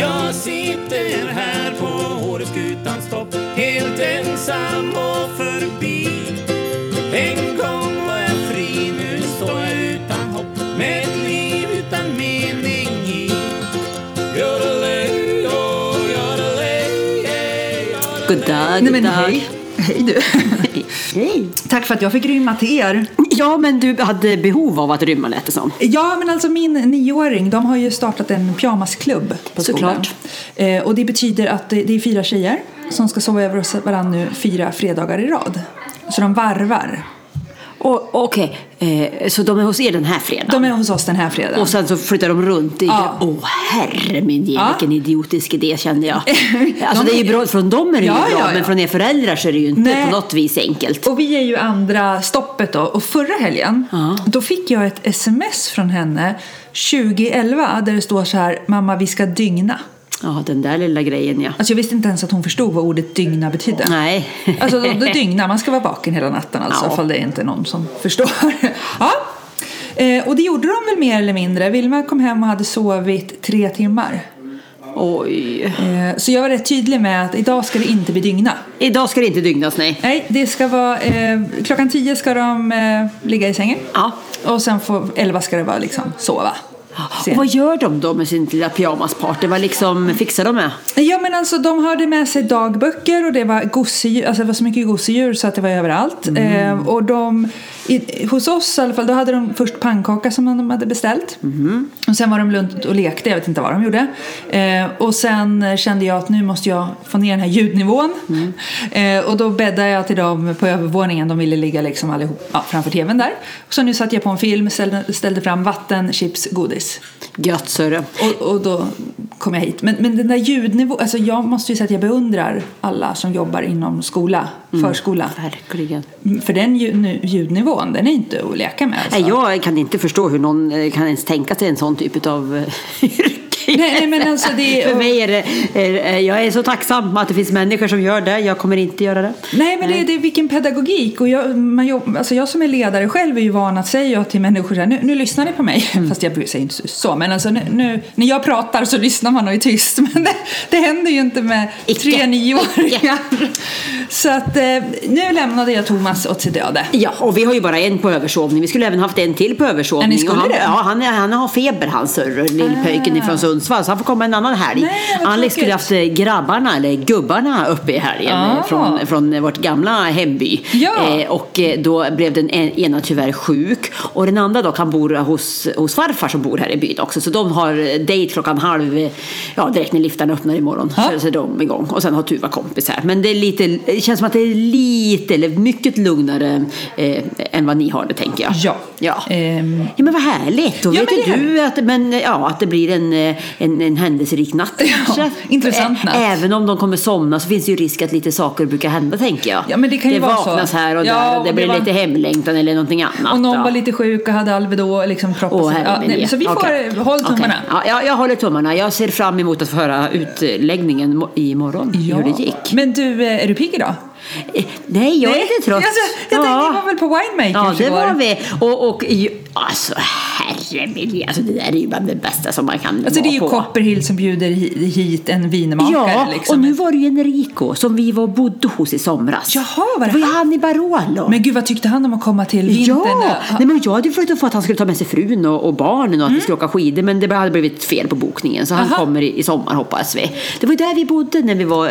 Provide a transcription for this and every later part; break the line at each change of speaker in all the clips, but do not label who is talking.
Jag sitter här på Åreskutans topp Helt ensam och förbi En gång var jag fri, nu står jag utan hopp Med ett liv utan mening i Yodelay, oh, yodelay, yeah, yodelay.
Goddag,
Nej men
goddag.
hej. Hej du.
Hej.
Tack för att jag fick rymma till er.
Ja, men du hade behov av att rymma lät det som.
Ja, men alltså min nioåring, de har ju startat en pyjamasklubb på skolan.
Såklart.
Eh, och det betyder att det det är fyra tjejer som ska sova över hos varandra nu fyra fredagar i rad. Så de varvar.
Och- Okej, eh, så de är hos er den här fredagen?
De är hos oss den här fredagen.
Och sen så flyttar de runt. i- Åh,
Ja.
herre min ge,
Ja.
vilken idiotisk idé kände jag. Alltså
De
det är ju
är-
bra, från dem är det
Ja,
ju bra,
ja, ja.
men från er föräldrar så är det ju inte
Nej.
på något vis enkelt.
Och vi är ju andra stoppet då. Och förra helgen,
Ja.
då fick jag ett sms från henne 2011 där det står så här, mamma vi ska dygna.
Ja, den där lilla grejen ja.
Alltså jag visste inte ens att hon förstod vad ordet dygna betydde.
Nej.
Alltså då, då dygna, man ska vara vaken hela natten alltså,
Ja.
ifall det är inte är någon som förstår. ja. eh, och det gjorde de väl mer eller mindre. Vilma kom hem och hade sovit tre timmar.
Oj.
Eh, så jag var rätt tydlig med att idag ska det inte bli dygna.
Idag ska det inte dygnas, nej.
Nej, det ska vara, eh, klockan tio ska de eh, ligga i sängen.
Ja.
Och sen får, elva ska det vara liksom sova.
Och
Sen.
vad gör de då med sin lilla pyjamasparty? Vad liksom fixar de med?
Ja men alltså de hade med sig dagböcker och det var gosedjur, alltså det var så mycket gosedjur så att det var överallt. Eh, och de, i, hos oss i alla fall, då hade de först pannkaka som de hade beställt. Och sen var de runt och lekte, jag vet inte vad de gjorde. Eh, och sen kände jag att nu måste jag få ner den här ljudnivån. Eh, och då bäddade jag till dem på övervåningen, de ville ligga liksom allihop ja, framför tvn där. Så nu satte jag på en film, ställde, ställde fram vatten, chips, godis.
Gött, sörre.
Och, och då kom jag hit. Men, men den där ljudnivån, alltså jag måste ju säga att jag beundrar alla som jobbar inom skola,
Mm.
förskola.
Verkligen.
Mm, För den ljud, nu- ljudnivån, den är inte att leka med. Alltså.
Nej, jag kan inte förstå hur någon eh, kan ens tänka sig en sån typ av yrke.
Nej, nej, men alltså det-
För mig är det, är, är- jag är så tacksam att det finns människor som gör det. Jag kommer inte göra det.
Nej men det, det är vilken pedagogik. Och jag, man jobb, alltså jag som är ledare själv är ju van att säga till människor så här, nu, nu lyssnar ni på mig.
Mm.
Fast jag säger inte så. Men alltså nu, nu, när jag pratar så lyssnar man och är tyst. Men det, det händer ju inte med
Icke.
tre nioåringar. Så att eh, nu lämnade jag Thomas åt sitt öde.
Ja, och vi har ju bara en på översovning. Vi skulle även haft en till på översovning.
Ja, ni skulle
och han,
det?
Ja, han, är- han har feber han sörr, lillpöjken ifrån Sundsvall. Så han får komma en annan helg.
Nej, vad
Alex
tråkigt.
skulle haft eh, grabbarna, eller gubbarna, uppe i helgen.
Ah.
eh, Från, från eh, vårt gamla hemby.
Ja.
Eh, och eh, då blev den en- ena tyvärr sjuk. Och den andra då, han bor hos, hos farfar som bor här i byn också. Så de har eh, dejt klockan halv, eh, ja direkt när liftarna öppnar imorgon.
Ja.
Så så är de igång. Och sen har Tuva kompis här. Men det, är lite, det känns som att det är lite, eller mycket lugnare eh, än vad ni har det tänker jag.
Ja.
Ja.
Ehm.
ja men vad härligt. Då
Ja,
vet
men
ju
det är
du att, men, eh, ja, att det blir en, eh, en, en händelserik natt kanske.
intressant
Ä-
natt.
Även om de kommer somna så finns det ju risk att lite saker brukar hända tänker jag.
Ja, men det kan ju vara så.
vaknas här och
Ja,
där och
och
det
det
blir
var-
lite hemlängtan eller någonting annat.
Och någon
ja.
var lite sjuk och hade Alvedon. Liksom, kroppen-
Åh,
ja,
herre min
nej,
ge.
så vi får eh,
Okej.
håll
Okej.
tummarna.
Ja, jag, jag håller tummarna. Jag ser fram emot att få höra utläggningen mo- imorgon, hur det gick.
Men du, eh, är du pigg idag?
Eh, Nej, jag är lite trött.
Alltså, jag tänkte, vi var väl på
Ja,
Winemakers
det
igår?
var vi. Och, och ju- alltså, herre min, alltså det där är ju bland det bästa som man kan
Alltså det är ju
vara på.
Copperhill som bjuder hi- hit en vinmakare.
Ja,
liksom.
och nu var det ju Enrico som vi var och bodde hos i somras.
Jaha, var det
var ju
han?
han i Barolo.
Men gud, vad tyckte han om att komma till vintern?
Ja,
Ja. Mm.
nej, men jag hade ju försökt få att han skulle ta med sig frun och, och barnen och att vi skulle åka skidor men det hade blivit fel på bokningen så han
Aha.
kommer i, i sommar hoppas vi. Det var ju där vi bodde när vi var,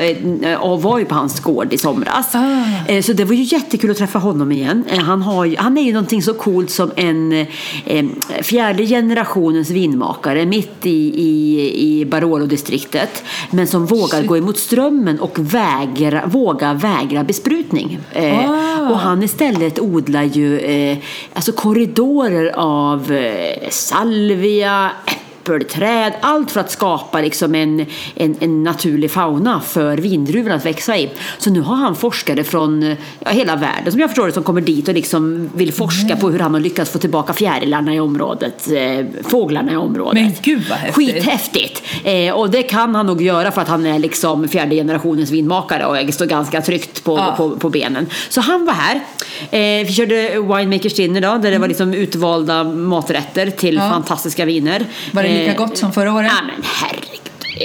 eh, och var ju på hans gård i somras.
Ah.
Eh, så det var ju jättekul att träffa honom igen. Eh, han, har ju, han är ju någonting så coolt som en eh, eh, fjärde generationens vinmakare mitt i, i, i Barolo-distriktet men som vågar gå emot strömmen och vägra, våga vägra besprutning. Eh,
Ah.
Och han istället odlar ju eh, alltså korridorer av eh, salvia, äppelträd, allt för att skapa liksom en, en, en naturlig fauna för vindruvorna att växa i. Så nu har han forskare från eh, ja, hela världen som jag förstår det som kommer dit och liksom vill forska på hur han har lyckats få tillbaka fjärilarna i området, eh, fåglarna i området.
Men gud, vad häftigt.
Skithäftigt! Eh, och det kan han nog göra för att han är liksom fjärde generationens vinmakare och jag står ganska tryggt på,
Ja.
på, på benen. Så han var här. Eh, vi körde winemakers dinner då, där det var liksom utvalda maträtter till
Mm. Ja.
fantastiska viner.
Var det lika gott som förra året?
Ja Eh, men herregud.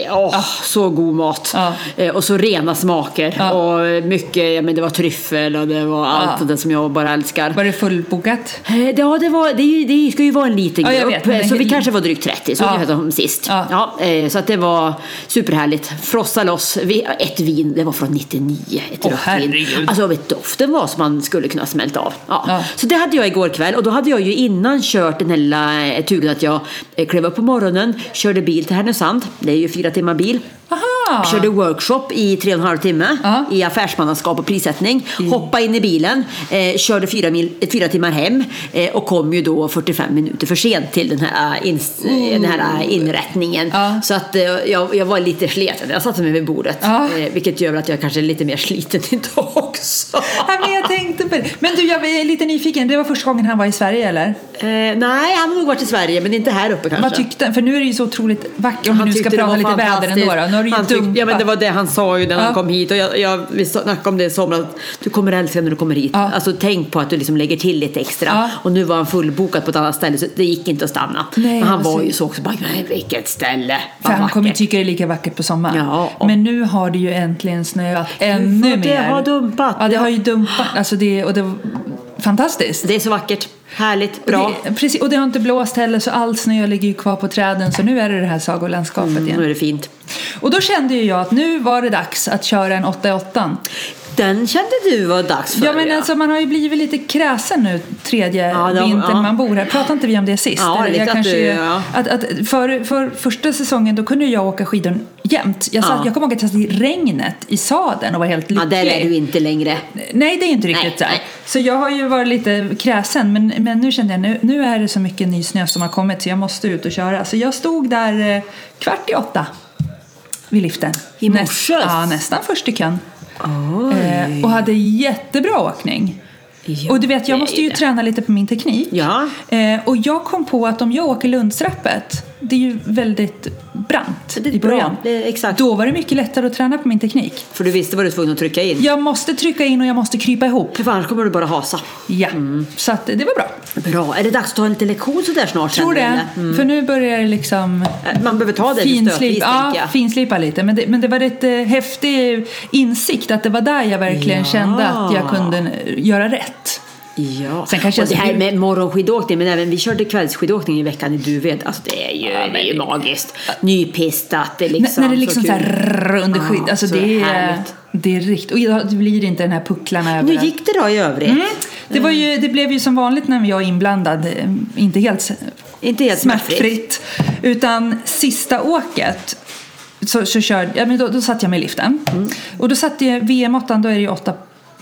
Ja, så god mat.
Ja.
Eh, Och så rena smaker.
Ja.
Och mycket, ja, men det var tryffel och det var allt
Ja.
det som jag bara älskar.
Var det fullbokat?
Eh, Ja, det, var, det, är ju- det ska ju vara en liten
Ja, jag
grupp. eh,
vet, men-
så vi kanske var drygt 30, så
Ja.
vi pratade om sist.
Ja.
eh, så att det var superhärligt. Frossa loss. Vi, ett vin, det var från 99. Ett
Åh,
rött vin.
herregud.
Alltså vet, doften var som man skulle kunna smälta av. Ja.
Ja.
Så det hade jag igår kväll och då hade jag ju innan kört den här lilla eh, turen att jag eh, klev upp på morgonen, körde bil till Härnösand. Det är ju fyra timmar bil.
Aha!
Körde workshop i tre och en halv timme
Ja. Mm.
i affärsmannaskap och prissättning. Hoppa in i bilen, eh, körde fyra, mil, eh, fyra timmar hem eh, och kom ju då 45 minuter för sent till den här, eh, ins- eh, den här eh, inrättningen.
Oh. Ja.
Så att eh, jag, jag var lite sliten. Jag satte mig vid bordet,
Ja.
eh, vilket gör att jag kanske är lite mer sliten idag också.
Ja, men jag tänkte på det. Men du, jag är lite nyfiken. Det var första gången han var i Sverige, eller?
Eh, nej, han har nog varit i Sverige, men inte här uppe kanske.
Vad tyckte han? För nu är det ju så otroligt vackert. Om vi
Han
nu ska
tyckte det
prata
var
lite väder ändå. Då. Nu har det ju
han tyckte,
dumpat.
ja, men det var det han sa ju när
Ja.
han kom hit. Och jag, jag, vi snackade om det i somras. att Du kommer älska när du kommer hit.
Ja.
Alltså, tänk på att du liksom lägger till lite extra.
Ja.
Och nu var han fullbokad på ett annat ställe så det gick inte att stanna.
Nej,
men han
vad
var ju
synd.
så också. Bara, nej, vilket ställe.
För
Vad
han kommer ju
vackert."
tycka det är lika vackert på sommaren.
Ja.
Men nu har det ju äntligen snöat
Nu
ännu
får det
mer.
ha dumpat.
Ja, det har ju dumpat. Alltså det, och det var fantastiskt.
Det är så vackert. Härligt. Bra.
Det, precis, och det har inte blåst heller så all snö ligger ju kvar på träden så nu är det det här sagolandskapet
Nu
igen.
är det fint.
Och då kände ju jag att nu var det dags att köra en 8-8.
Den kände du var dags för.
Ja men alltså man har ju blivit lite kräsen nu tredje
Ja, det-
vintern
ja.
man bor här. Pratade inte vi om det sist?
Ja,
Eller
lite
jag
att
kanske
du-
ju-
ja.
att, att för, för första säsongen då kunde jag åka skidor jämt. Jag, satt,
Ja.
jag kommer ihåg att jag satt i regnet i sadeln och var helt
ja,
lycklig.
där är du inte längre.
Nej, det är inte riktigt
Nej,
där.
nej.
Så jag har ju varit lite kräsen, men, men nu kände jag nu, nu är det så mycket ny snö som har kommit så jag måste ut och köra. Så jag stod där eh, kvart i åtta vid liften.
I morse?
ja, nästan först i kön.
Oj.
Eh, och hade jättebra åkning.
Ja,
och du vet, jag
det
måste
är
ju
det.
träna lite på min teknik.
Ja.
Eh, och jag kom på att om jag åker Lundstrappet, det är ju väldigt brant
Det är
i
bra.
början.
Det är exakt.
Då var det mycket lättare att träna på min teknik.
För du visste vad du var tvungen att trycka in.
Jag måste trycka in och jag måste krypa ihop.
För annars kommer du bara hasa.
Ja,
Mm.
så att det var bra.
Bra. Är det dags att ta en liten lektion sådär snart?
Tror
känner du,
det.
eller?
För nu börjar det liksom
Man behöver ta Mm. det lite
finslip,
stötvis,
ja,
tänker jag.
finslipa lite. Men det, men det var rätt eh, häftig insikt att det var där jag verkligen
Ja.
kände att jag kunde eh, göra rätt.
Ja.
Sen kanske
och det
jag
här
skulle-
med morgonskidåkning, men även vi körde kvällsskidåkning i veckan i Duved. Alltså det är ju, det är ju magiskt. Nypistat, det är
N-
liksom
när det liksom
så
så
kul.
här rrrr under
Ja,
skydd. Alltså
så
det är,
härligt.
det är riktigt. Och idag blir det inte den här pucklarna
Nu
överallt.
gick det då i övrigt.
Mm. Det, var ju, det blev ju som vanligt när jag är inblandad, eh, inte helt
Inte helt smärtfritt.
smärtfritt. Utan sista åket så, så körde, ja, men då, då satt jag med i liften. Och då satt jag, VM 8 då är det ju åtta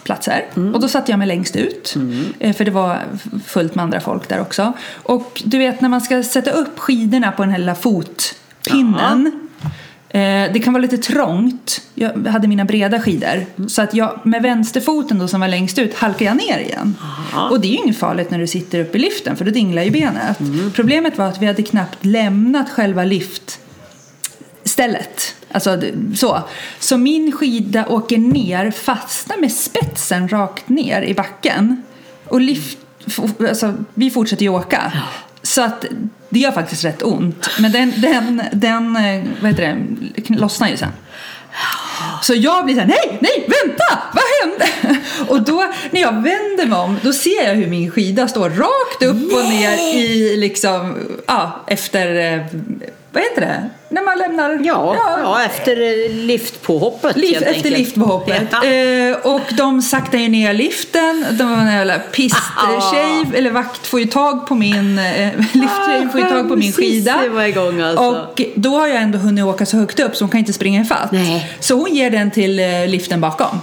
platser. Och då satt jag mig längst ut. eh, För det var fullt med andra folk där också. Och du vet när man ska sätta upp skidorna på den här lilla fotpinnen. Eh, det kan vara lite trångt. Jag hade mina breda skidor. Så att jag med vänsterfoten då som var längst ut halkade jag ner igen. Och det är ju inget farligt när du sitter uppe i liften för då dinglar ju benet. Problemet var att vi hade knappt lämnat själva liftstället. Alltså det- så. Så min skida åker ner, fastnar med spetsen rakt ner i backen. Och lift, f- alltså, vi fortsätter ju åka. Så att det gör faktiskt rätt ont. Men den, den, den eh, vad heter det, lossnar ju sen. Så jag blir så här, nej, nej, vänta, vad hände? Och då när jag vänder mig om, då ser jag hur min skida står rakt upp och ner i liksom, ja, efter, eh, vad heter det? När man lämnar?
Ja, ja. efter eh, liftpåhoppet
Lift,
helt
efter
enkelt.
liftpåhoppet.
Ja.
Eh, och de saktar ju ner liften. De var en jävla pisstjej,
Ah.
eller vakt, får ju tag på min eh, lifttjej, får ju tag på min skida.
Sissi Ah, var igång alltså.
Och då har jag ändå hunnit åka så högt upp så hon kan inte springa ifatt.
Nej.
Så hon ger den till eh, liften bakom.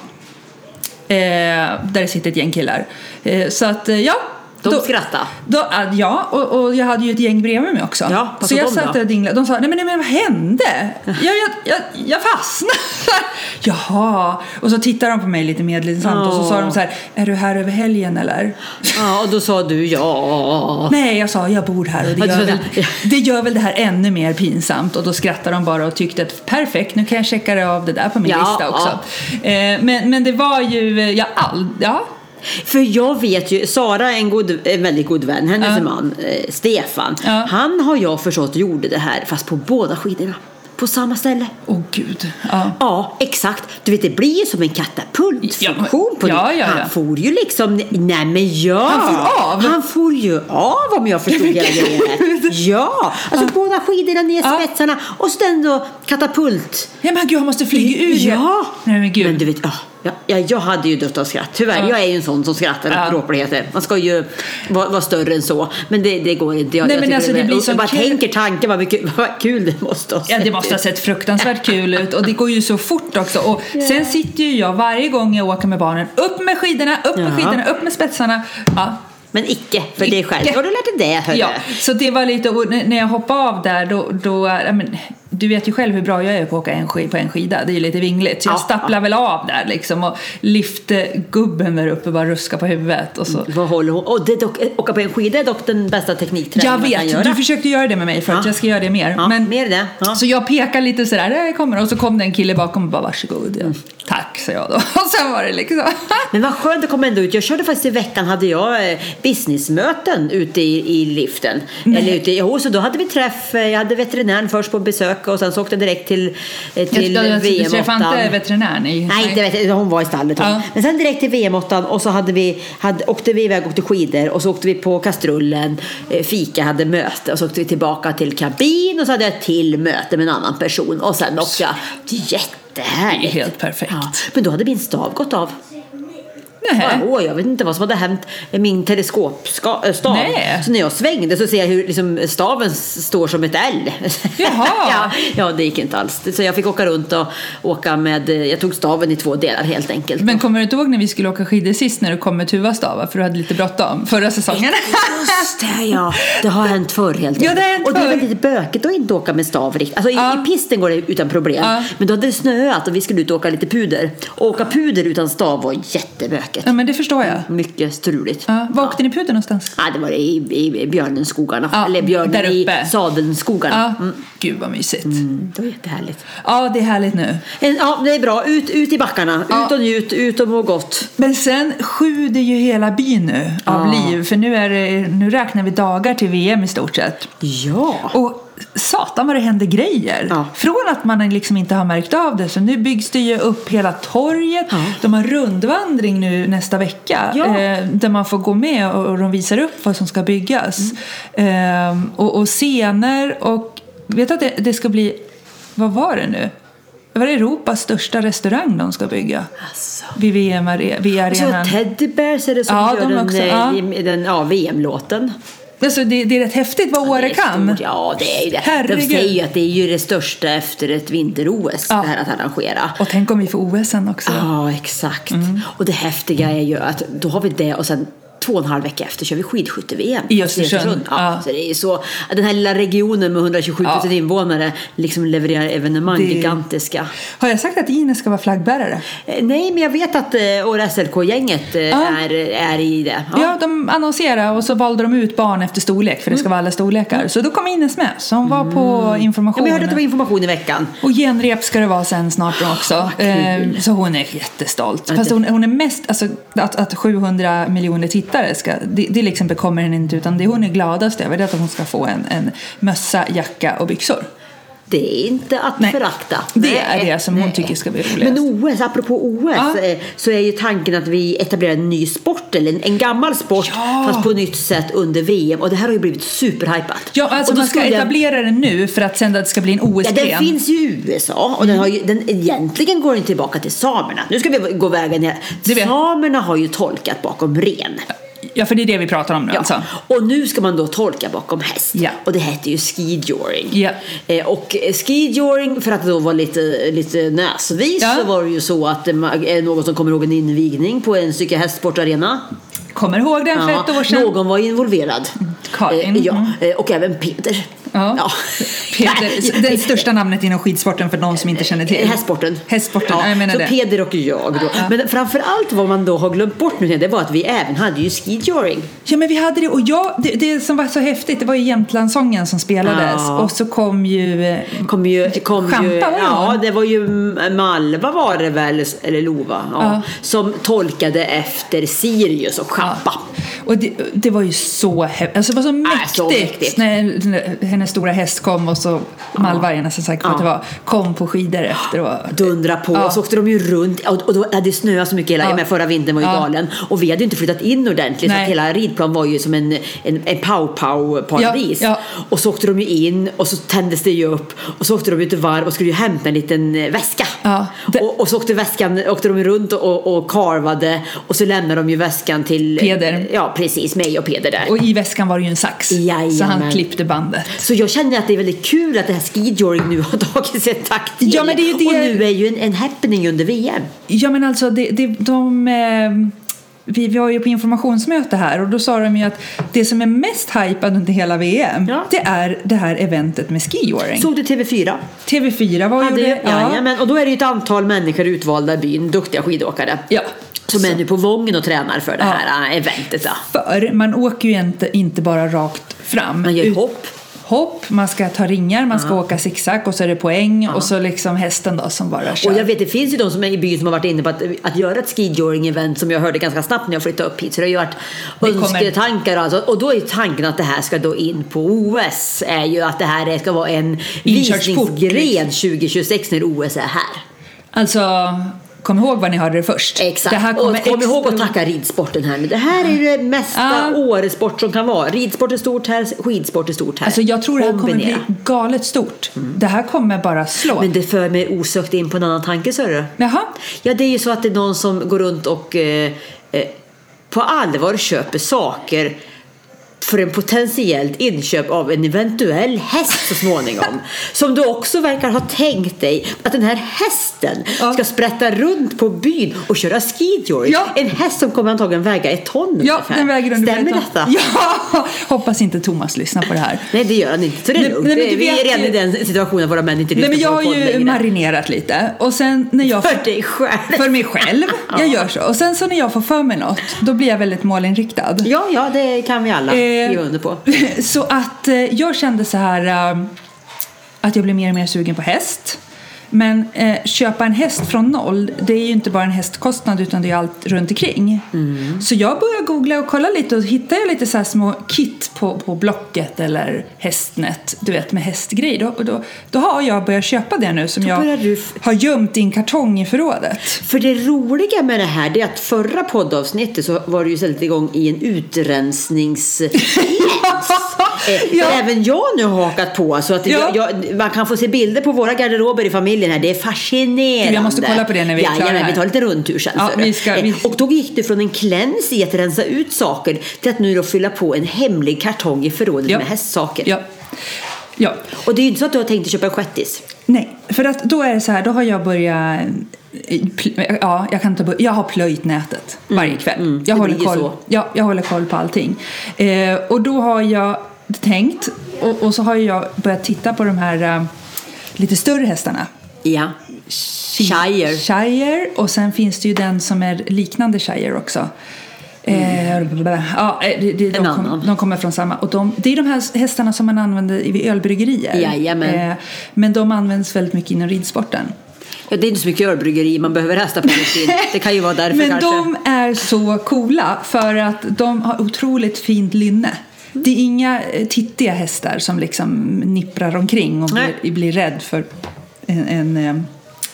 Eh, där det sitter ett gäng killar. Eh, så att, eh, ja.
De skrattade.
Då, ah, ja, och, och jag hade ju ett gäng bredvid mig också.
Ja, vad
så
sa
jag
de
satt
då?
där och dinglade. De sa, nej men, nej, men vad hände? Jag, jag, jag, jag fastnade. Jaha. Och så tittade de på mig lite medlidsamt och så sa
Åh.
de så här, är du här över helgen eller?
Ja, och då sa du ja.
Nej, jag sa jag bor här och
Ja,
det gör,
du sa
väl,
det.
det gör väl det här ännu mer pinsamt. Och då skrattade de bara och tyckte att perfekt, nu kan jag checka det av det där på min
Ja,
lista också. Eh, Men, men det var ju, eh, ja, all, ja.
För jag vet ju, Sara är en, god, en väldigt god vän, hennes
Ja.
man eh, Stefan,
Ja.
han har jag förstått gjorde det här fast på båda skidorna. på samma ställe.
Åh gud. Ja.
Ja, exakt. Du vet, det blir ju som en katapultfunktion
Ja,
på det.
ja, ja, ja.
Han får ju liksom... Nej, men ja!
Han for av?
Han for ju av om jag förstod hela grejen rätt. Ja! Alltså båda skidorna ner
Ja.
spetsarna och sen då katapult.
ja men gud, han måste flyga ur.
Ja!
Nej men gud.
Men du vet, ja, ja, ja, jag hade ju dött av skratt. Tyvärr,
Ja.
jag är ju en sån som skrattar åt
Ja.
dråpligheter. Man ska ju vara, vara större än så. Men det, det går inte. Jag,
Nej,
jag
men
tycker
alltså,
är-
det blir
jag
sån
bara
kul-
tänker tanken vad, mycket, vad kul det måste ha
Ja, det
sett
måste
ut.
ha sett fruktansvärt kul ut och det går ju så fort också. Och Sen sitter ju jag varje gång jag åker med barnen, upp med skidorna, upp med
Ja.
skidorna, upp med spetsarna. Ja,
Men icke, för det är
Icke.
självklart. Har du lärt dig det? hörru?
ja. Så det var lite, och n- när jag hoppade av där då, då ja, men, du vet ju själv hur bra jag är på att åka en sk- på en skida, det är ju lite vingligt. Så jag
Ja.
stapplade väl av där liksom och lyfte gubben där uppe och bara ruska på huvudet. Och så.
Vad håller hon? Och det är dock, åka på en skida är dock den bästa
Jag
teknikträningen man kan
vet,
göra.
du försökte göra det med mig för att
Ja.
jag ska göra det mer.
Ja,
men,
mer det. Ja.
Så jag pekar lite sådär, där kommer och så kom det en kille bakom och bara varsågod. Mm. Tack, sa jag då. Och sen var det liksom.
Men vad skönt det kom ändå ut. Jag körde faktiskt i veckan hade jag eh, businessmöten ute i, i liften. Eller ute, i- jo, så då hade vi träff. eh, Jag hade veterinären först på besök och sen så åkte jag direkt till, eh, till
jag, jag, jag
VM-8.
träffade inte veterinären i...
Nej, inte vet jag. Hon var i stallet hon.
Ja.
Men sen direkt till VM-8 och så hade vi, hade, åkte vi iväg och åkte skidor och så åkte vi på kastrullen, eh, fika, hade möte och så åkte vi tillbaka till kabin och så hade jag ett till möte med en annan person och sen åkte jag. Det är
Det
jättehärligt.
är helt perfekt.
Ja, men då hade min stav gått av.
Nej.
Åh, jag vet inte vad som hade hänt med min teleskopstav.
Nej.
Så när jag svängde så ser jag hur liksom, staven s- står som ett L.
Jaha.
ja, ja, det gick inte alls. Så jag fick åka runt och åka med, eh, jag tog staven i två delar helt enkelt.
Men kommer du inte ihåg när vi skulle åka skidor sist när du kom med tuvastavar för du hade lite bråttom förra säsongen?
Just det, ja. Det har hänt förr helt enkelt.
Ja, det har hänt
och det är väl
förr.
lite bökigt att inte åka med stav riktigt. Alltså i,
Ja.
i pisten går det utan problem.
Ja.
Men då hade det snöat och vi skulle ut och åka lite puder. Och åka puder utan stav var jättebökigt.
Ja, men det förstår jag.
Mycket struligt.
Ja. Var åkte ni puder någonstans?
Ja, det var i, i, i björnenskogarna.
Ja,
Eller
där
björnen
uppe.
i sadelskogarna.
Ja. Gud vad mysigt.
Mm, det var jättehärligt.
Ja, det är härligt nu.
En, ja, det är bra. Ut, ut i backarna.
Ja.
Ut och njut, ut och må gott.
Men sen sjuder ju hela byn nu av liv. För nu, är det, nu räknar vi dagar till VM i stort sett.
Ja.
Och satan vad det händer grejer.
Ja.
Från att man liksom inte har märkt av det. Så nu byggs det ju upp hela torget.
Ja.
De har rundvandring nu nästa vecka.
Ja.
Eh, där man får gå med och, och de visar upp vad som ska byggas.
Mm.
Ehm, och, och scener och... Vet du att det, det ska bli... Vad var det nu? Det var Europas största restaurang de ska bygga.
Alltså.
Vid VM-arenan.
Och så Teddy Bears är det som
Ja,
gör
de
den,
också,
eh,
ja.
i- i den ja, VM-låten.
Alltså det, det är rätt häftigt vad Åre
Det är
kan.
stort. Ja, det är ju det.
Herregud.
De säger ju att det är ju det största efter ett vinter-OS,
Ja.
det här att arrangera.
Och tänk om vi får OS sen också.
Ja, Ah, exakt.
Mm.
Och det häftiga är ju att då har vi det och sen två och en halv vecka efter kör vi skidskytte-VM
I Östersund.
Ja,
Ja.
Så det är ju så, den här lilla regionen med 127 000
Ja.
invånare liksom levererar evenemang,
Det-
gigantiska.
Har jag sagt att Ines ska vara flaggbärare?
Eh, Nej, men jag vet att eh, Åre SLK-gänget eh,
Ja.
är, är i det.
Ja. de annonserade och så valde de ut barn efter storlek för det ska vara alla storlekar. Så då kom Ines med, så hon var på
Mm. Ja, men jag hörde
informationen.
att det var information i veckan.
och genrep ska det vara sen snart då
Ah,
också. Ehm, så hon är jättestolt. Fast hon, hon är mest, alltså att, att 700 miljoner tittare ska, det, det liksom bekommer henne inte utan det hon är gladast över det är att hon ska få en, en mössa, jacka och byxor.
Det är inte att
Nej.
förakta.
Det
Nej,
är det som hon tycker ska bli roligast.
Men OS, apropå OS,
Ja.
eh, så är ju tanken att vi etablerar en ny sport, eller en, en gammal sport,
Ja.
fast på nytt sätt under VM. Och det här har ju blivit superhypat.
Ja, alltså
Och då
man ska
skulle jag-
etablera den nu för att sen att det ska bli en
Ja,
OS-gren.
den finns ju i USA och den har ju, den, egentligen går den tillbaka till samerna. Nu ska vi gå vägen här.
Du vet.
Samerna har ju tolkat bakom ren.
Ja, för det är det vi pratar om nu alltså.
Och nu ska man då tolka bakom häst.
Ja.
Och det heter ju skidjoring.
Ja.
Eh, och eh, skidjoring, för att då vara lite, lite näsvis,
Ja.
så var det ju så att det ma- eh, någon som kommer ihåg en invigning på en stycke hästsportarena.
Kommer ihåg den för ett år sedan.
någon var involverad.
Karin,
Eh, ja,
mm.
eh, och även Peter.
Ja. Peder, det största namnet inom skidsporten för någon som inte känner till.
Hästsporten.
Hästsporten,
Ja,
ja, jag menar
så
det.
Peder och jag då. Men framför allt vad man då har glömt bort nu det var att vi även hade ju skidjoring.
Ja men vi hade det och jag, det, det som var så häftigt det var ju Jämtlandssången som spelades
Ja.
och så kom ju eh,
kom ju, kom
Champa
ju,
var det, va?
ja, det var ju M- Malva var det väl, eller Lova, ja,
Ja.
som tolkade efter Sirius och Champa.
Och det, det var ju så häftigt. Alltså det var så mäktigt,
Äh, så mäktigt.
När, när hennes stora häst kom och så malvargarna som sagt för att det var, kom på skidor efter. Och,
dundra på
Ja.
så åkte de ju runt och, och då hade det snöat så mycket hela,
Ja.
men förra vintern var ju
Ja.
galen och vi hade ju inte flyttat in ordentligt så
Nej.
att hela ridplan var ju som en, en, en pow-pow paradis
Ja,
och så åkte de ju in och så tändes det ju upp och så åkte de ut ett varv och skulle ju hämta en liten eh, väska
Ja, det-
och, och så åkte, väskan, åkte de runt och, och, och karvade och så lämnade de ju väskan till
Peder.
ja precis mig och Peder där
och i väskan var det ju en sax. Så han
Jajamän.
klippte bandet.
så jag känner att det är väldigt kul att det här skidjoring nu har tagit sig ett tack till.
Ja, men det är ju
Och
det-
nu är ju en, en happening under VM.
Ja men alltså det, det, de... Eh, vi, vi var ju på informationsmöte här och då sa de ju att det som är mest hypat under hela VM
Ja.
det är det här eventet med skiåring.
Såg du TV4?
TV4 var ju
Hade ju,
det.
jajamän, och då är det ju ett antal människor utvalda i byn, duktiga skidåkare.
ja.
Som är nu på Vången och tränar för det
Ja.
här äh, eventet. Ja.
För man åker ju inte, inte bara rakt fram.
Man gör ju
Ut-
hopp.
Hopp, man ska ta ringar, man ska åka zigzag och så är det poäng och så liksom hästen då som bara kör.
Och jag vet, det finns ju de som är i byn som har varit inne på att, att göra ett skidjoring-event som jag hörde ganska snabbt när jag flyttade upp hit. Så det har ju varit
kommer.
önsketankar och, alltså, och då är ju tanken att det här ska då in på OS. Är ju att det här är- ska vara en
Inkörsport, liksom.
visningsgren 2026 när OS är här.
Alltså, kom ihåg vad ni hörde det först.
Exakt.
Det här kommer
och kom
extra-
ihåg att tacka ridsporten här nu. Det här är det mesta
Ja.
Åresport som kan vara. Ridsport är stort här, skidsport är stort här.
Alltså jag tror det här kommer bli
Kombinera.
galet stort. Det här kommer bara slå.
Mm. Men det för mig osökt in på en annan tanke, Sörre.
Jaha.
Ja, det är ju så att det är någon som går runt och eh, eh, på allvar köper saker för en potentiellt inköp av en eventuell häst så småningom. som du också verkar ha tänkt dig att den här hästen
Ja.
ska sprätta runt på byn och köra skidjoring.
Ja.
En häst som kommer antagligen väga ett ton
Ja,
ungefär.
den väger ungefär
Stämmer
ett ton.
detta?
Ja! Hoppas inte Thomas lyssnar på det här.
Nej, det gör han inte. Så det är
Nej,
lugnt.
nej, men
Det-
du
Vi är
vet
redan
ju-
i den situationen att våra män inte lyssnar
Nej, men jag
på
har
vår podd
ju
längre.
marinerat lite och sen när jag
För dig själv.
för mig själv, jag gör så. Och sen så när jag får för mig något, då blir jag väldigt målinriktad.
Ja, ja, det kan vi alla
Eh,
skriva under på.
Så att eh, jag kände så här eh, att jag blev mer och mer sugen på häst. Men eh, köpa en häst från noll, det är ju inte bara en hästkostnad utan det är ju allt runt omkring.
Mm.
Så jag började googla och kolla lite och hittade jag lite så här små kit på, på Blocket eller Hästnet, du vet med hästgrej. Då, och då, då har jag börjat köpa det nu som jag
börjar du f-
har gömt i en kartong i förrådet.
För det roliga med det här det är att förra poddavsnittet så var du ju istället igång i en utrensnings... Eh,
Ja.
där Även jag nu har hakat på. Så att
Ja.
jag, jag, man kan få se bilder på våra garderober i familjen här. Det är fascinerande.
Jag måste kolla på det när vi är klara
Jajamän,
här.
vi tar lite rundtur sen.
Ja,
så du.
vi ska-
Eh,
vi-
Och då gick du från en kläns i att rensa ut saker till att nu då fylla på en hemlig kartong i förrådet
Ja.
med hästsaker.
Ja. ja.
Och det är ju inte så att du har tänkt att köpa en shettis.
Nej, för att då är det så här, då har jag börjat... pl- Ja, jag, kan inte börja, jag har plöjt nätet varje kväll. jag,
Mm. det
håller
blir ju
koll,
så.
ja, jag håller koll på allting. Eh, och då har jag tänkt, och, och så har jag börjat titta på de här eh, lite större hästarna.
Ja. Shire.
Shire, och sen finns det ju den som är liknande Shire också. Eh, ja, eh, det, det, de,
Mm. En
kom,
annan.
de kommer från samma. Och de, det är de här hästarna som man använder i- vid ölbryggerier.
Jajamän.
Eh, men de används väldigt mycket inom ridsporten.
Ja, det är inte så mycket ölbryggeri man behöver hästar på just in. Det kan ju vara därför
Men
kanske.
de är så coola för att de har otroligt fint lynne. Det är inga eh, tittiga hästar som liksom nipprar omkring och
Nej.
blir, blir rädd för en, en eh,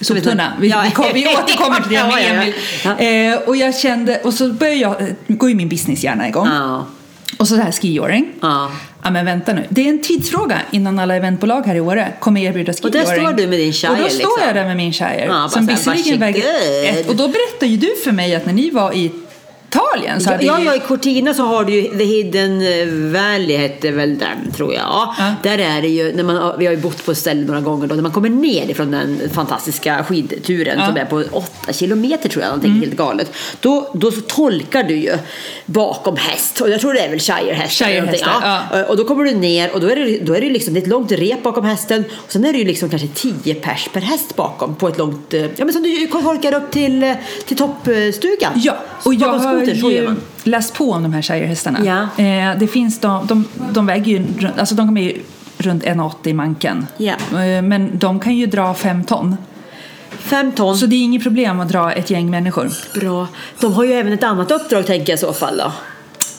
soptunna.
inte.
Vi,
Ja.
vi, kom, vi återkommer till det
Ja,
med
ja, ja.
Emil.
Ja.
Eh, och jag kände, och så började jag, eh, går ju min businesshjärna igång.
Ja.
Och så det här skioring.
Ja.
Ja men vänta nu, det är en tidsfråga innan alla eventbolag här i Åre kommer erbjuda skioring.
där står du med din Shire,
Och då står
liksom.
jag där med min Shire.
Ja, bara
som
så här,
visserligen väger
varsågod.
ett, och då berättade ju du för mig att när ni var i Italien så
Ja,
hade
ja,
ni-
ja, i Cortina så har du ju The Hidden eh, Valley hette väl den tror jag. Ja.
Ja.
Där är det ju, när man, har- vi har ju bott på ett ställe några gånger då, när man kommer ner ifrån den fantastiska skidturen
Ja. Mm.
som är på åtta kilometer tror jag, någonting helt galet. Då, då så tolkar du ju bakom häst och jag tror det är väl Shire-hästar. eller någonting.
Shirehästar,
ja. Eh, Och då kommer du ner och då är det, då är det liksom det är ett långt rep bakom hästen och sen är det ju liksom kanske 10 pers per häst bakom på ett långt, eh, ja men som du ju holkar upp till, eh, till toppstugan.
Ja, och jag
Bakom
har
skotern, så gör
ju
man.
läst på om de här shirehästarna.
Ja.
Eh, det finns de, de, de väger ju, runt- alltså de kommer ju runt 1,80 i manken.
Ja.
Eh, men de kan ju dra 5 ton.
Fem ton.
Så det är inget problem att dra ett gäng människor.
Bra. De har ju även ett annat uppdrag tänker jag i så fall då.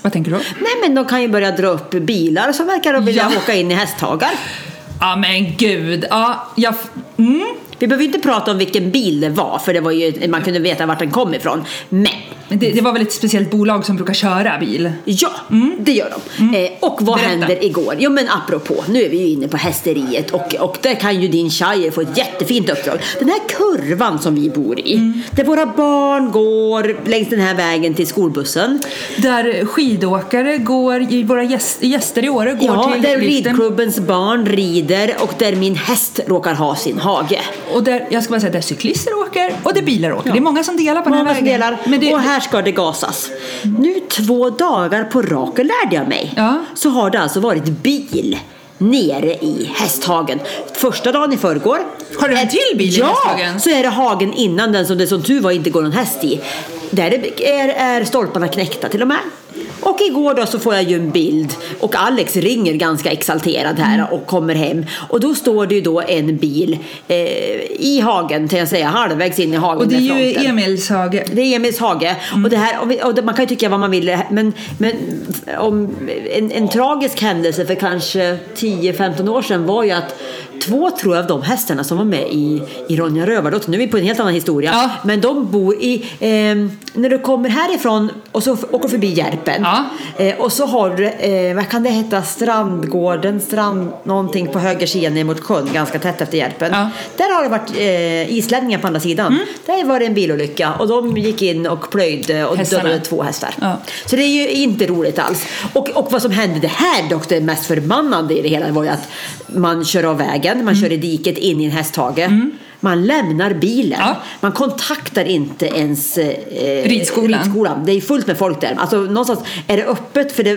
Vad tänker du?
Nej, men de kan ju börja dra upp bilar som verkar vilja
Ja.
åka in i hästhagar.
Ja men gud, ja, jag, mm.
Vi behöver ju inte prata om vilken bil det var, för det var ju, man kunde veta vart den kom ifrån. Men
Men det, det var väl ett speciellt bolag som brukar köra bil?
Ja, det gör de. Eh, och vad
Mm. Berätta.
händer igår? Jo men apropå, nu är vi ju inne på hästeriet och, och där kan ju din Shire få ett jättefint uppdrag. Den här kurvan som vi bor i,
Mm.
där våra barn går längs den här vägen till skolbussen.
Där skidåkare går, i- våra gäst, gäster i år går
Ja,
till
där
liften.
ridklubbens barn rider och där min häst råkar ha sin hage.
Och där, jag ska bara säga, där cyklister åker och där bilar åker. Det är många som delar på den
Många
här
som
vägen.
delar.
Men det,
Och här ska det gasas. Nu två dagar på raken lärde jag mig.
Ja.
Så har det alltså varit bil nere i hästhagen. Första dagen i förrgår.
Har du en
Eh,
till bil i
ja,
hästhagen?
så är det hagen innan den som det som tur var inte går någon häst i. Där är, är, är stolparna knäckta till och med. Och igår då så får jag ju en bild och Alex ringer ganska exalterad här
Mm.
och kommer hem. Och då står det ju då en bil eh, i hagen, kan jag säga, halvvägs in i hagen.
och det är
där fronten.
ju Emils hage.
Det är Emils hage.
Mm.
Och det här, och vi- och det- man kan ju tycka vad man vill, men, men om, en, en tragisk händelse för kanske 10-15 år sedan var ju att två, tror jag, av de hästarna som var med i, i Ronja Rövardotter, nu är vi på en helt annan historia,
Ja.
men de bor i, eh, när du kommer härifrån och så f- åker förbi Järpen
Ja.
eh, och så har du, eh, vad kan det heta, Strandgården, strand, någonting på höger sida ner mot sjön, ganska tätt efter Järpen.
Ja. Mm.
Där har det varit eh, islänningar på andra sidan. Där var det en bilolycka och de gick in och plöjde och
Hästarna.
dödade två hästar.
Ja.
Så det är ju inte roligt alls. Och, och vad som hände det här dock, det mest förbannande i det hela var ju att man kör av vägen,
Mm.
man kör i diket in i en hästhage. Man lämnar bilen.
Ja.
Man kontaktar inte ens eh,
Ridskolan.
Det är fullt med folk där. Alltså, någonstans är det öppet för det,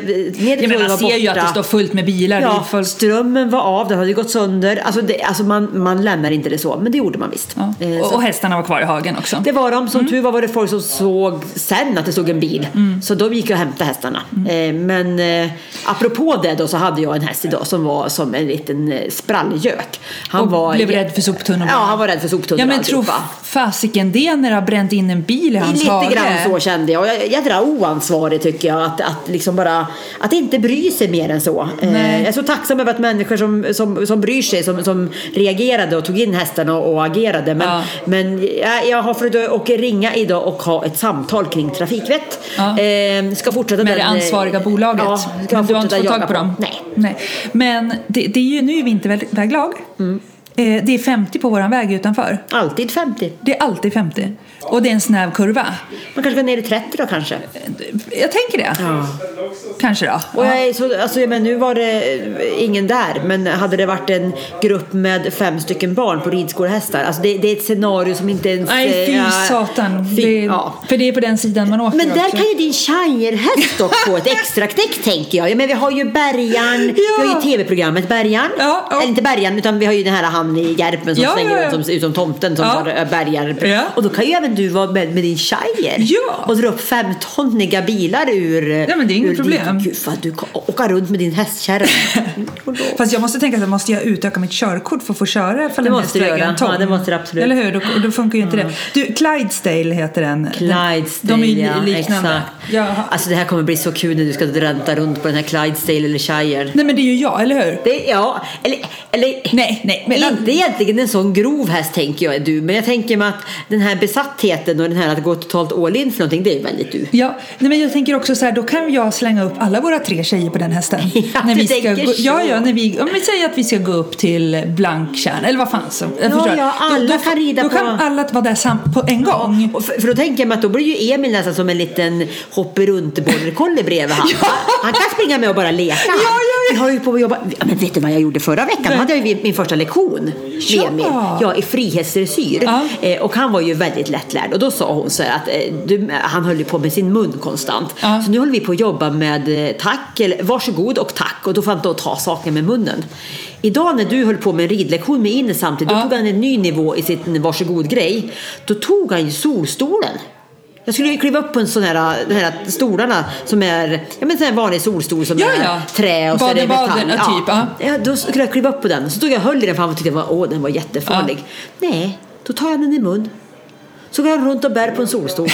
Jag menar, man ser ju att det står fullt med bilar.
Ja,
Ja. Folk,
strömmen var av, den hade gått sönder. Alltså, det, alltså man, man lämnar inte det så, men det gjorde man visst.
ja.
Eh,
och,
så
och Mm. hästarna var kvar i hagen också.
det var de. Som tur var var det folk som såg sen att det stod en bil.
Mm.
Så de gick jag och hämtade hästarna. Eh, men eh, apropå det då så hade jag en häst idag som var som en liten eh, sprallgök. Han
och
var
blev rädd för soptunnor.
Ja, han var rädd för soptunnor
Ja
och
men tro
alltihopa.
fasiken det när det har bränt in en bil i hans
Lite
hage.
grann så kände jag. Och jag- Jädra oansvarig tycker jag. Att, att, liksom bara, att inte bry sig mer än så. Eh,
Nej.
Jag är så tacksam över att människor som, som, som bryr sig, som, som reagerade och tog in hästen och, och agerade. Men,
Ja.
men jag, jag har försökt att ringa idag och ha ett samtal kring trafikvett.
Ja.
Eh, ska fortsätta
Med det
den, eh,
ansvariga bolaget.
Ja,
Men
ska
du har
fortsätta
inte fått
jaga
tag på dem?
Nej.
Men det, det är ju, nu är vinterväglag.
Mm.
Eh, Det är 50 på våran väg utanför.
Alltid 50.
Det är alltid 50. Och det är en snäv kurva. Eh,
Man kanske ska ner i 30 då kanske.
Jag tänker det. Kanske då.
Och jag är så, alltså, men nu var det eh, ingen där, men hade det varit en grupp med fem stycken barn på ridskolehästar, alltså det, det är ett scenario som inte ens...
Nej, fy
eh,
satan.
fy-
det,
ja.
För det är på den sidan man åker
Men där
också.
kan ju din shirehäst dock få ett extra knäck tänker jag. Ja, men vi har ju Bergan,
Ja.
vi har ju tv-programmet Bergan.
Ja, ja.
Eller inte Bergan, utan vi har ju den här han i Järpen som
Ja,
slänger
ja, ja.
runt som, ut som tomten som
Ja.
har eh, bergar.
Ja.
Och då kan ju även du vara med, med din shire
Ja.
och dra upp femtonniga bilar ur... eh,
Ja, men det är inget
ur
problem.
Ditt, gud vad du kan åka runt med din hästkärra. Och då-
Fast jag måste tänka så här, måste jag utöka mitt körkort för att få köra ifall
Det
en
måste
häst
du
väger
göra.
en ton?
Ja, det måste du absolut.
Eller hur? Då, då funkar ju inte det. Du, Clydesdale heter den.
Clydesdale,
De är
ja,
ju liknande.
exakt.
Ja.
Alltså det här kommer bli så kul när du ska ränta runt på den här Clydesdale eller Shire.
Nej men det är ju jag, eller hur?
Det, ja, eller, eller
Nej, nej, men-
inte egentligen en sån grov häst tänker jag är du. Men jag tänker mig att den här besattheten och den här att gå totalt all in för någonting, det är väldigt du.
Ja, nej men jag tänker också så här, då kan jag slänga upp alla våra tre tjejer på den hästen.
Ja, du tänker
gå,
så.
ja, ja, när vi, om vi säger att vi ska gå upp till Blanktjärn, eller vad fan som. jag
Ja,
förstår.
ja, alla
då, då,
kan rida
Då
på-
kan alla vara där sam, på en gång.
Och för, för då tänker jag mig att då blir ju Emil nästan som en liten hopperunt-bordercollie bredvid han. Han kan springa med och bara leka. han.
ja, ja.
Vi har ju på att jobba. Ja, Men vet du vad jag gjorde förra veckan? Då hade jag ju min första lektion
Ja.
med Emil. Ja, i frihetsdressyr.
Ja.
Eh, och han var ju väldigt lättlärd. Och då sa hon så här att eh, du, han höll ju på med sin mun konstant.
Ja.
Så nu håller vi på att jobba med eh, tack, eller varsågod och tack. Och då får han då ta saker med munnen. Idag när du höll på med en ridlektion med Ines samtidigt,
Ja.
då tog han en ny nivå i sin varsågod-grej. Då tog han ju solstolen. Jag skulle ju kliva upp på en sån här, de här stolarna som är ja, men sån här vanlig solstol som
Ja,
är
ja.
trä och så är det metall.
Baden-baden, typ, ja.
Ja, då skulle jag kliva upp på den. Så tog jag och höll i den för han tyckte att den var, åh, den var jättefarlig. Nej, då tar jag den i mun. Så går han runt och bär på en solstol.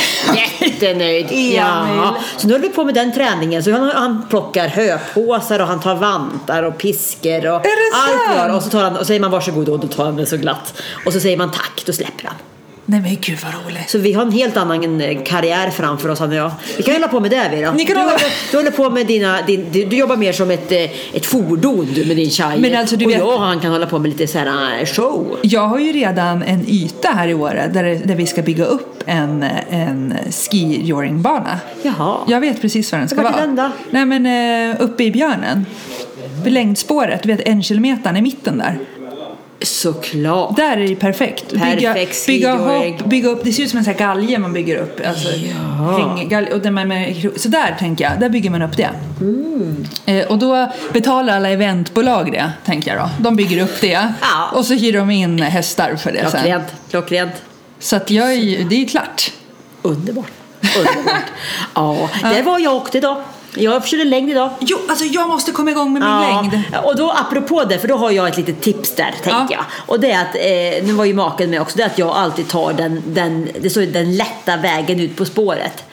Jättenöjd!
Emil.
Ja. Så nu håller vi på med den träningen. Så han, han plockar höpåsar och han tar vantar och piskor och
Är det
allt vad det var.
sant?
Och så tar han, och säger man varsågod och då tar han det så glatt. Och så säger man tack, då släpper han.
Nej men gud vad roligt.
Så vi har en helt annan eh, karriär framför oss han och jag. Vi kan hålla på med det Vera.
Ni kan
du,
hålla-
håller- du håller på med dina, din, du, du jobbar mer som ett, eh, ett fordon du, med din tjej.
Men alltså, du
och
vet-
jag och han kan hålla på med lite så här eh, show.
Jag har ju redan en yta här i Åre där, det- där vi ska bygga upp en, en skijoringbana.
Jaha.
Jag vet precis var den ska
Vart är
vara.
den då?
Nej men eh, uppe i björnen. Vid längdspåret, du vet en kilometer i mitten där.
Såklart.
Där är det ju perfekt. Bygga,
Perfekt
bygga
skijoring.
hopp, bygga upp. Det ser ut som en sån här galge man bygger upp. Alltså, kring, gal- och där man, med- så där tänker jag, där bygger man upp det.
Mm.
Eh, och då betalar alla eventbolag det, tänker jag då. De bygger upp det
Ja.
och så hyr de in hästar för det sen.
Klockrent. Klockrent.
Så att jag är ju, det är ju klart.
Underbart. Underbart. ja, där var jag åkte idag. Jag körde längd idag.
Jo, alltså jag måste komma igång med min längd.
Och då apropå det, för då har jag ett litet tips där tänkte
Ja.
jag. Och det är att, eh, nu var ju maken med också, det är att jag alltid tar den, den, det står ju den lätta vägen ut på spåret.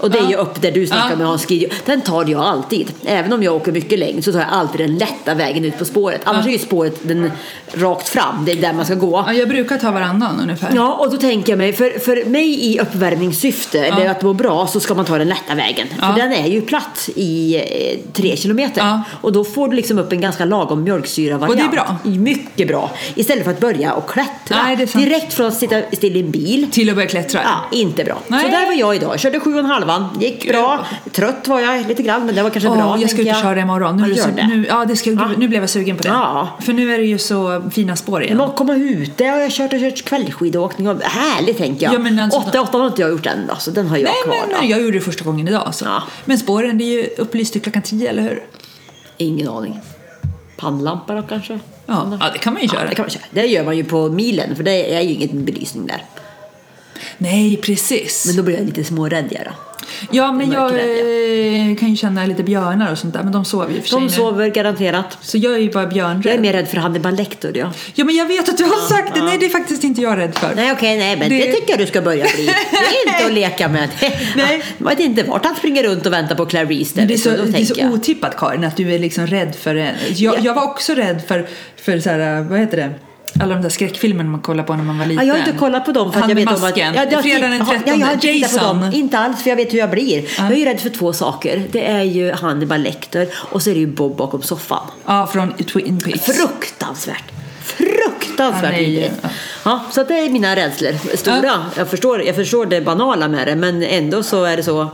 Och det är ju
Ja.
upp där du snackar
Ja.
med Hans Guido. Den tar jag alltid. Även om jag åker mycket längd så tar jag alltid den lätta vägen ut på spåret. Annars
Ja.
är ju spåret den rakt fram, det är där man ska gå.
Ja, jag brukar ta varannan ungefär.
Ja, och då tänker jag mig, för, för mig i uppvärmningssyfte, eller att må bra, så ska man ta den lätta vägen. För
Ja.
den är ju platt i eh, tre kilometer.
Ja.
Och då får du liksom upp en ganska lagom mjölksyravariant.
Och det är bra.
Mycket bra. Istället för att börja och klättra.
Nej, det är sant.
Direkt från att sitta still i en bil.
Till att börja klättra.
Ja, inte bra. Så
Nej.
där var jag idag. Körde sju och en halvan. Gick bra. Trött var jag lite grann, men det var kanske
Åh,
bra.
jag ska
tänker
ut och köra imorgon. Nu,
Ja,
är det
gör
så,
det.
nu, ja, det ska, gud, nu blev jag sugen på det.
Ja.
För nu är det ju så fina spår igen.
Men att komma ut, det har jag kört och kört kvällskidåkning. och- Härligt tänker jag.
Ja, men alltså-
8-8 har inte jag gjort än då, så den har jag
Nej,
kvar.
men
då.
nej, jag gjorde det första gången idag. Så.
Ja.
Men spåren, det är ju upplyst till klockan 10, eller hur?
Ingen aning. Pannlampa då kanske?
Ja, ja det kan man ju
Mm. Ja,
köra.
det kan man köra. Det gör man ju på milen för det är ju ingen belysning där.
Nej, precis.
Men då blir jag lite smårädd jag då.
ja, men
det är
jag
mörkret,
eh, kan ju känna lite björnar och sånt där, men de sover ju i och för sig
De
nu.
sover garanterat.
Så jag är ju bara
Jag är
björnrädd.
mer rädd för Hannibal Lecter ja.
Ja, men jag vet att du har sagt det. Nej, det är faktiskt inte jag rädd för.
Nej okej, nej men det...
Det-
tycker jag du ska börja bli. Det är inte att leka med.
Nej.
Jag vet inte vart han springer runt och väntar på Clarice där.
Men det är så,
liksom. Då
det är
tänker
så
jag.
otippat Karin att du är liksom rädd för det. Jag,
Ja.
jag var också rädd för, för så här, vad heter det? Alla de där skräckfilmerna man kollar på när man var liten.
Ja, jag har inte kollat på dem för att
Han
jag
med
vet om att...
masken.
Ja, jag har-
Fredagen den
ja,
13.
jag har inte tittat på dem.
Jason.
Inte alls, för jag vet hur jag blir. Jag är ju rädd för två saker. Det är ju Hannibal Lecter och så är det ju Bob bakom soffan.
Ja, från Twin Peaks.
Fruktansvärt. Fruktansvärt
Ja, nej,
vidrigt.
ja.
Ja, så att det är mina rädslor. Stora.
Ja.
Jag, förstår, jag förstår det banala med det, men ändå så är det så.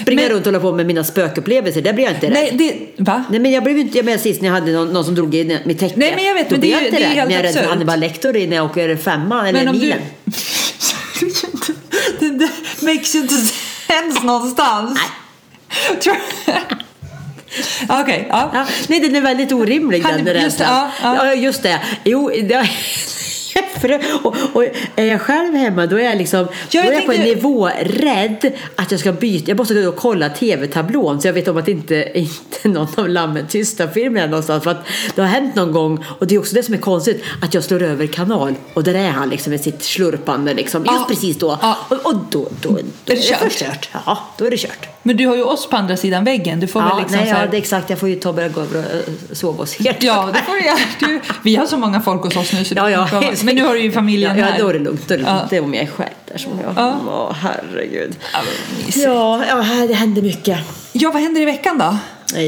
Springa
Men-
runt och hålla på med mina spökupplevelser, där blir jag inte rädd.
Nej, det, va?
Nej men jag blev inte, jag menar sist när jag hade någon, någon som drog i mitt täcke.
Nej, men jag vet,
Då
men
blev
det
jag
är ju-
inte
det är
rädd,
helt
men jag är rädd för
absurt.
Hannibal Lecter i när jag åker femman eller
Men om
milen.
du... det, det makes ju inte sens någonstans. Tror- Okej, ja.
Ja, nej, den är väldigt orimlig
Han-
den där
just det,
rädslan.
ja, ja.
just det. Jo, det, för det- och, och är jag själv hemma då är jag liksom
Ja, jag
då är jag på en
tänkte-
nivå rädd att jag ska byta. Jag måste gå och kolla tv-tablån så jag vet om att inte, inte någon av Lammen Tysta-filmerna är någonstans. För att det har hänt någon gång och det är också det som är konstigt att jag slår över kanal och där är han liksom med sitt slurpande liksom just
Ja.
precis då.
Ja.
Och, och då, då, då,
det kört.
förstört. Ja, då är det kört.
Men du har ju oss på andra sidan väggen. Du får väl
Ja,
liksom
nej,
så här...
ja, det är exakt. Jag får ju ta och börja gå över och eh, sova hos er.
Ja, det får du göra. Du, vi har så många folk hos oss nu. Så
Ja,
du
ja.
kan komma. Men nu har du ju familjen
ja, ja,
här.
då är det lugnt. Då är det, lugnt.
Ja.
det är om jag är själv där som jag. Ja.
Ja.
Åh, herregud.
Ja, vad mysigt.
Ja, ja, här- det händer mycket.
Ja, vad händer i veckan då?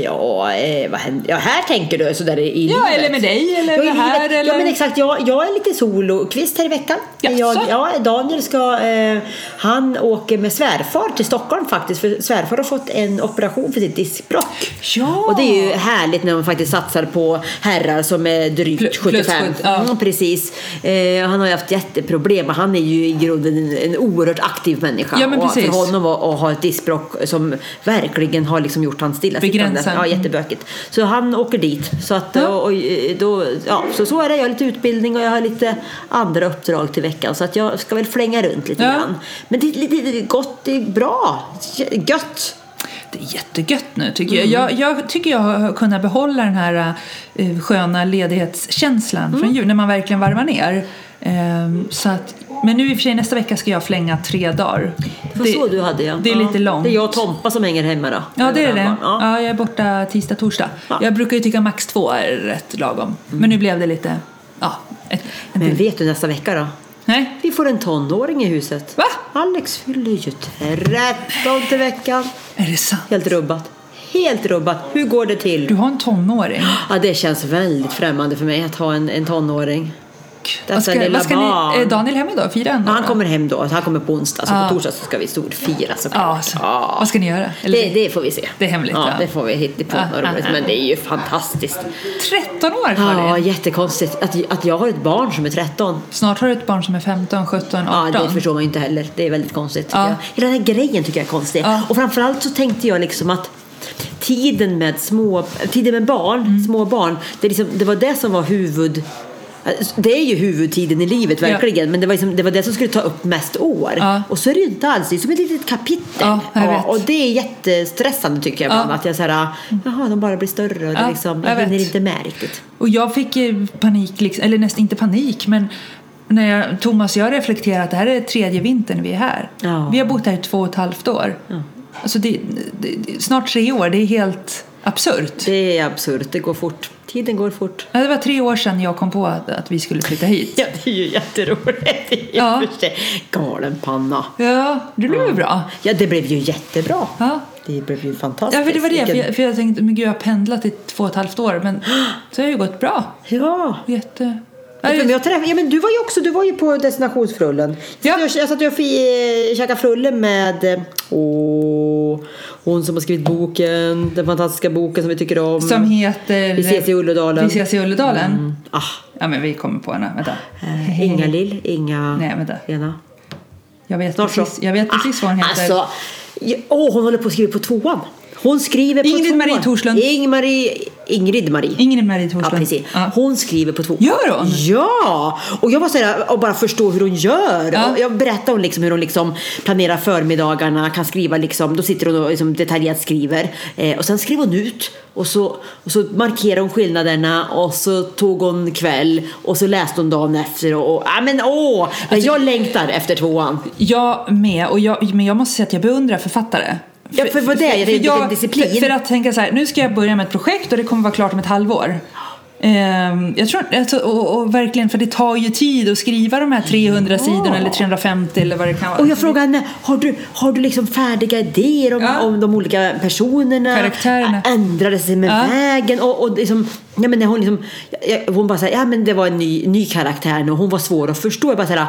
Ja, eh, vad händer? Ja, här tänker du sådär i i
Ja,
livet.
eller med dig, eller
ja, i
med här,
livet. Ja,
eller-
men exakt. Jag, jag är lite solokvist här i veckan.
Jaså?
Jag, ja, Daniel ska, eh, han åker med svärfar till Stockholm faktiskt. För svärfar har fått en operation för sitt diskbråck.
Ja.
Och det är ju härligt när man faktiskt satsar på herrar som är drygt
Plus-
75.
plus sju- ja.
Mm, precis. Eh, han har ju haft jätteproblem och han är ju i grunden en, en oerhört aktiv människa.
Ja, men
och för
precis.
honom att, att ha ett diskbråck som verkligen har liksom gjort hans stillasittande.
Begränsar.
Ja, jättebökigt. Så han åker dit. Så, att,
Ja.
och, och, eh, då, ja, så, så är det. Jag har lite utbildning och jag har lite andra uppdrag till veckan. Så att jag ska väl flänga runt lite
Ja.
grann. Men det är lite det är gott, det är bra, gött.
Det är jättegött nu tycker
Mm.
jag. jag. Jag tycker jag har kunnat
Mm.
behålla den här eh, sköna ledighetskänslan från jul när man verkligen varvar ner. Ehm, så att, men nu i och för sig nästa vecka ska jag flänga tre dagar.
Det var så du hade ja.
Det är
ja.
lite långt.
Det är jag och Tompa som hänger hemma då.
Ja, det är det.
Överallt.
Ja.
Ja.
jag är borta tisdag, torsdag.
Ja. Mm.
Jag brukar ju tycka max två är rätt lagom. Men nu blev det lite... Ja, ett, ett,
Men vet du nästa vecka då?
Nej?
Vi får en tonåring i huset.
Va?
Alex fyller ju 13 till veckan.
Är det sant?
Helt rubbat. Helt rubbat. Hur går det till?
Du har en tonåring.
Ja, det känns väldigt främmande för mig att ha en, en tonåring. Detta
Vad ska,
lilla
vad ska
barn.
ni, är Daniel hemma idag? Fira ändå?
Ja, han
då?
kommer hem då. Han kommer på onsdag. Så
Ja.
på torsdag så ska vi storfira såklart.
Ja, så,
Ja.
Vad ska ni göra? Eller,
Det, det får vi se.
Det är hemligt,
Ja,
va?
det får vi hitta på
Ja,
något roligt.
ja, ja.
Men det är ju fantastiskt.
13 år Karin!
Ja, jättekonstigt att, att jag har ett barn som är 13.
Snart har du ett barn som är 15, 17, 18.
Ja, det förstår man ju inte heller. Det är väldigt konstigt. tycker
Ja.
jag. Hela den här grejen tycker jag är konstig.
Ja.
Och framförallt så tänkte jag liksom att tiden med, små, tiden med barn,
Mm.
små barn, det, är liksom, det var det som var huvud... alltså, Det är ju huvudtiden i livet verkligen, men det var, liksom, det var det som skulle ta upp mest år.
Ja.
Och så är det ju inte alls, det är som ett litet kapitel.
Ja, jag vet.
och det är jättestressande tycker jag ibland,
Ja.
att jag såhär, jaha de bara blir större och det
Ja,
liksom,
jag
jag,
vet.
hinner inte med riktigt.
Och jag fick eh, panik, liksom, eller nästan inte panik, men när jag, Thomas och jag reflekterar att det här är tredje vintern vi är här.
Ja.
Vi har bott här i två och ett halvt år. Alltså det, det, det, snart tre år, det är helt absurt.
Det är absurt, det går fort. Tiden går fort.
Ja, Det var tre år sedan jag kom på att, att vi skulle flytta hit.
Ja, det är ju jätteroligt i
Ja.
och för sig. Galen panna.
Ja, det blev ju bra.
Ja, det blev ju jättebra.
Ja.
Det blev ju fantastiskt.
Ja, för det var det. För
Vilken-
jag, för jag tänkte, men gud, jag har pendlat i två och ett halvt år, men så har det ju gått bra.
Ja.
Jätte...
Ja, men
Ja,
jag träffade, ja, men du var ju också du var ju på destinationsfrullen.
Ja.
Ja. Jag, jag satt och fi- eh, käkade frulle med eh, åh, hon som har skrivit boken, den fantastiska boken som vi tycker om.
Som heter...
Vi ses i Ulledalen.
Vi ses i Ulledalen.
Ah,
Ja, men vi kommer på henne. Vänta.
eh, Inga Lill, Inga...
Nej, vänta.
Lena.
Jag vet
Snart så.
precis, jag vet precis vad hon heter.
Alltså, ja, åh, hon håller på att skriva på tvåan. Hon skriver på
Ingrid
tvåan.
Marie Thorslund.
Ingmarie, Ingrid Marie.
Ingrid Marie
Ja,
Thorslund.
precis.
Ja.
Hon skriver på tvåan.
Gör hon?
Ja! Och jag var så här, och bara förstå hur hon gör.
Ja.
Och jag berättade om liksom hur hon liksom planerar förmiddagarna, kan skriva liksom, då sitter hon och liksom detaljerat skriver. Eh, och sen skrev hon ut och så, och så markerade hon skillnaderna och så tog hon kväll och så läste hon dagen efter. Och, och, ah, men, åh, Men
Alltså-
jag längtar efter tvåan.
Jag med, och jag, men jag måste säga att jag beundrar författare.
Ja, för vad det är, det är en disciplin.
För, för att tänka så här, nu ska jag börja med ett projekt och det kommer vara klart om ett halvår. Ehm, jag tror, alltså, och, och verkligen, för det tar ju tid att skriva de här 300 sidorna eller 350 eller vad det kan vara.
Och jag frågade henne, har du, har du liksom färdiga idéer om,
Ja.
om de olika personerna?
Karaktärerna.
Ä- Ändrade sig med
Ja.
vägen? Och, och liksom, ja, men när hon, liksom, jag- hon bara såhär, ja men det var en ny, ny karaktär nu och hon var svår att förstå. Jag bara såhär,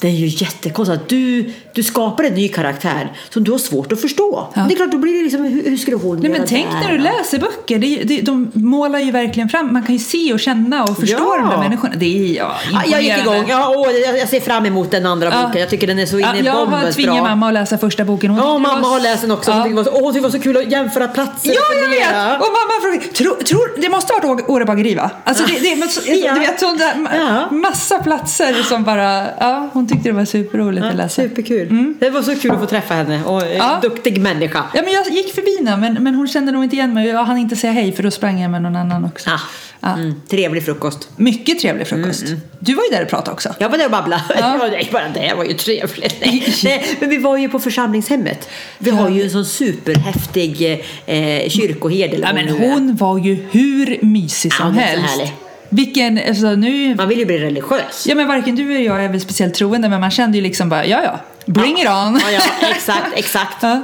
det är ju jättekonstigt att du, du skapar en ny karaktär som du har svårt att förstå.
Ja.
Det är klart, då blir det liksom, hur, hur skulle hon
Nej,
göra
men tänk
där?
när du läser böcker, det, det, de målar ju verkligen fram, man kan ju se och känna och förstå
Ja.
de där människorna. Det är ja,
Ja, jag gick
imponerande.
igång. Ja, åh, jag jag ser fram emot den andra
Ja.
boken. Jag tycker den är så in
Ja,
i
jag
bomben
var tvingade
bra.
mamma att läsa första boken. Hon
Ja,
tyckte det
mamma
var-
har läst den också. Hon
Ja.
tyckte det var så, åh, hon tyckte det var så kul att jämföra platser.
Ja,
och
jag
fundera.
vet! Och mamma frågade, tror, tror, det måste ha varit Åre- Åre bageri va? Alltså det, det, men så-
Ja.
du vet, sån där ma-
Ja.
massa platser som bara, ja, hon tyckte det var superroligt att läsa.
Superkul. Det var så kul att få träffa henne. Och en
Mm. Ja.
duktig människa.
Ja, men jag gick förbi henne, men, men hon kände nog inte igen mig. Jag hann inte säga hej, för då sprang jag med någon annan också.
Ah.
Ja.
Mm. Trevlig frukost.
Mycket trevlig frukost.
Mm,
Du var ju där och pratade också.
Jag var där och babblade.
Ja.
Ja. Nej, bara det var ju trevligt. Nej. Nej, men vi var ju på församlingshemmet. Vi har ju en sån superhäftig eh, kyrkoherde. eller
Ja,
vad
men
hon nu är.
hon var ju hur mysig som
hon är så
helst.
härlig.
Vilken, alltså nu...
Man vill ju bli religiös.
Ja, men varken du eller jag är väl speciellt troende, men man kände ju liksom bara, ja, ja, bring it on.
Ja, ja exakt, exakt.
Ja.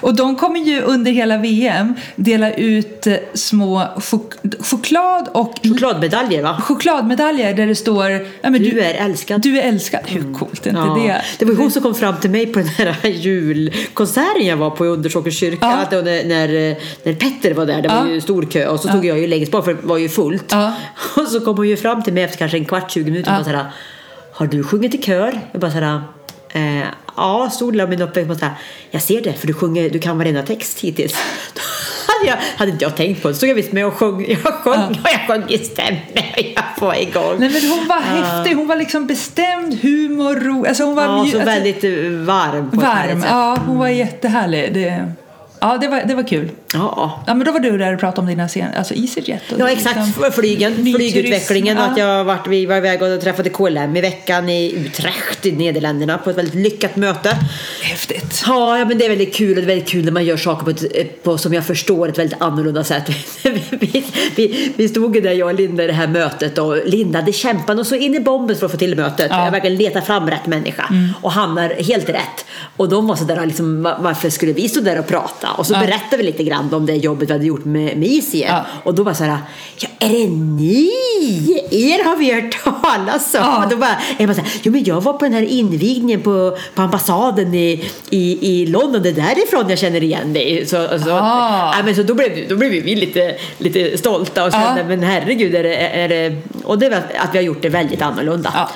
Och de kommer ju under hela VM dela ut eh, små chok- choklad och
Chokladmedaljer va?
chokladmedaljer där det står ja, men
Du är älskad. Mm.
Du är älskad. Hur coolt är inte det?
det var ju hon som kom fram till mig på den här julkonserten jag var på i Undersåkers kyrka.
Ja.
Att det var när, när, när Petter var där, det var
Ja.
ju stor kö och så tog jag ju längst bak för det var ju fullt.
Ja.
Och så kom hon ju fram till mig efter kanske en kvart, 20 minuter
Ja.
och bara såhär, har du sjungit i kör? Jag bara såhär, eh, ja, stor del av min uppväxt. Jag, jag ser det, för du sjunger, du kan varenda text hittills. Då Hade, jag, hade inte jag tänkt på det. Så stod jag visst med och sjöng, jag sjöng, och jag sjöng i stämning och jag var Ah. igång.
Nej, men hon var häftig. Hon var liksom bestämd, humor, ro. Alltså hon var
Ja,
mjuk-
så
alltså,
väldigt eh, varm. På ett
varm.
härligt sätt.
Ja, hon var jättehärlig. Det, ja, det var, det var kul.
Ja.
Ja, men då var du där och pratade om dina sen, alltså EasyJet. och
Ja,
liksom-
exakt. F- Flygen,
Ny
flygutvecklingen.
turism,
och Att jag varit, vi var iväg och träffade KLM i veckan i Utrecht i Nederländerna på ett väldigt lyckat möte.
Häftigt.
Ja, ja, men det är väldigt kul. Och det är väldigt kul när man gör saker på ett, eh, på, som jag förstår, ett väldigt annorlunda sätt. vi, vi, vi stod ju där, jag och Linda, i det här mötet och Linda hade kämpat och så in i bomben för att få till mötet.
Ja. Mm.
Jag verkligen letar fram rätt människa och hamnar helt rätt. Och de var så där, liksom, va- varför skulle vi stå där och prata? Och så
Ja.
berättade vi lite grann om det jobbet vi hade gjort med, med ICE.
Ja.
Och då var så här, ja, är det ni? Er har vi hört talas om.
Ja.
Och då bara, jag bara så här, jo men jag var på den här invigningen på, på ambassaden i, i, i London, det är därifrån jag känner igen dig. Så, så,
Ah.
ja, men så då blev, då blev vi lite, lite stolta och kände,
Ja.
men herregud, är det, är det, och det är väl att vi har gjort det väldigt annorlunda.
Ja.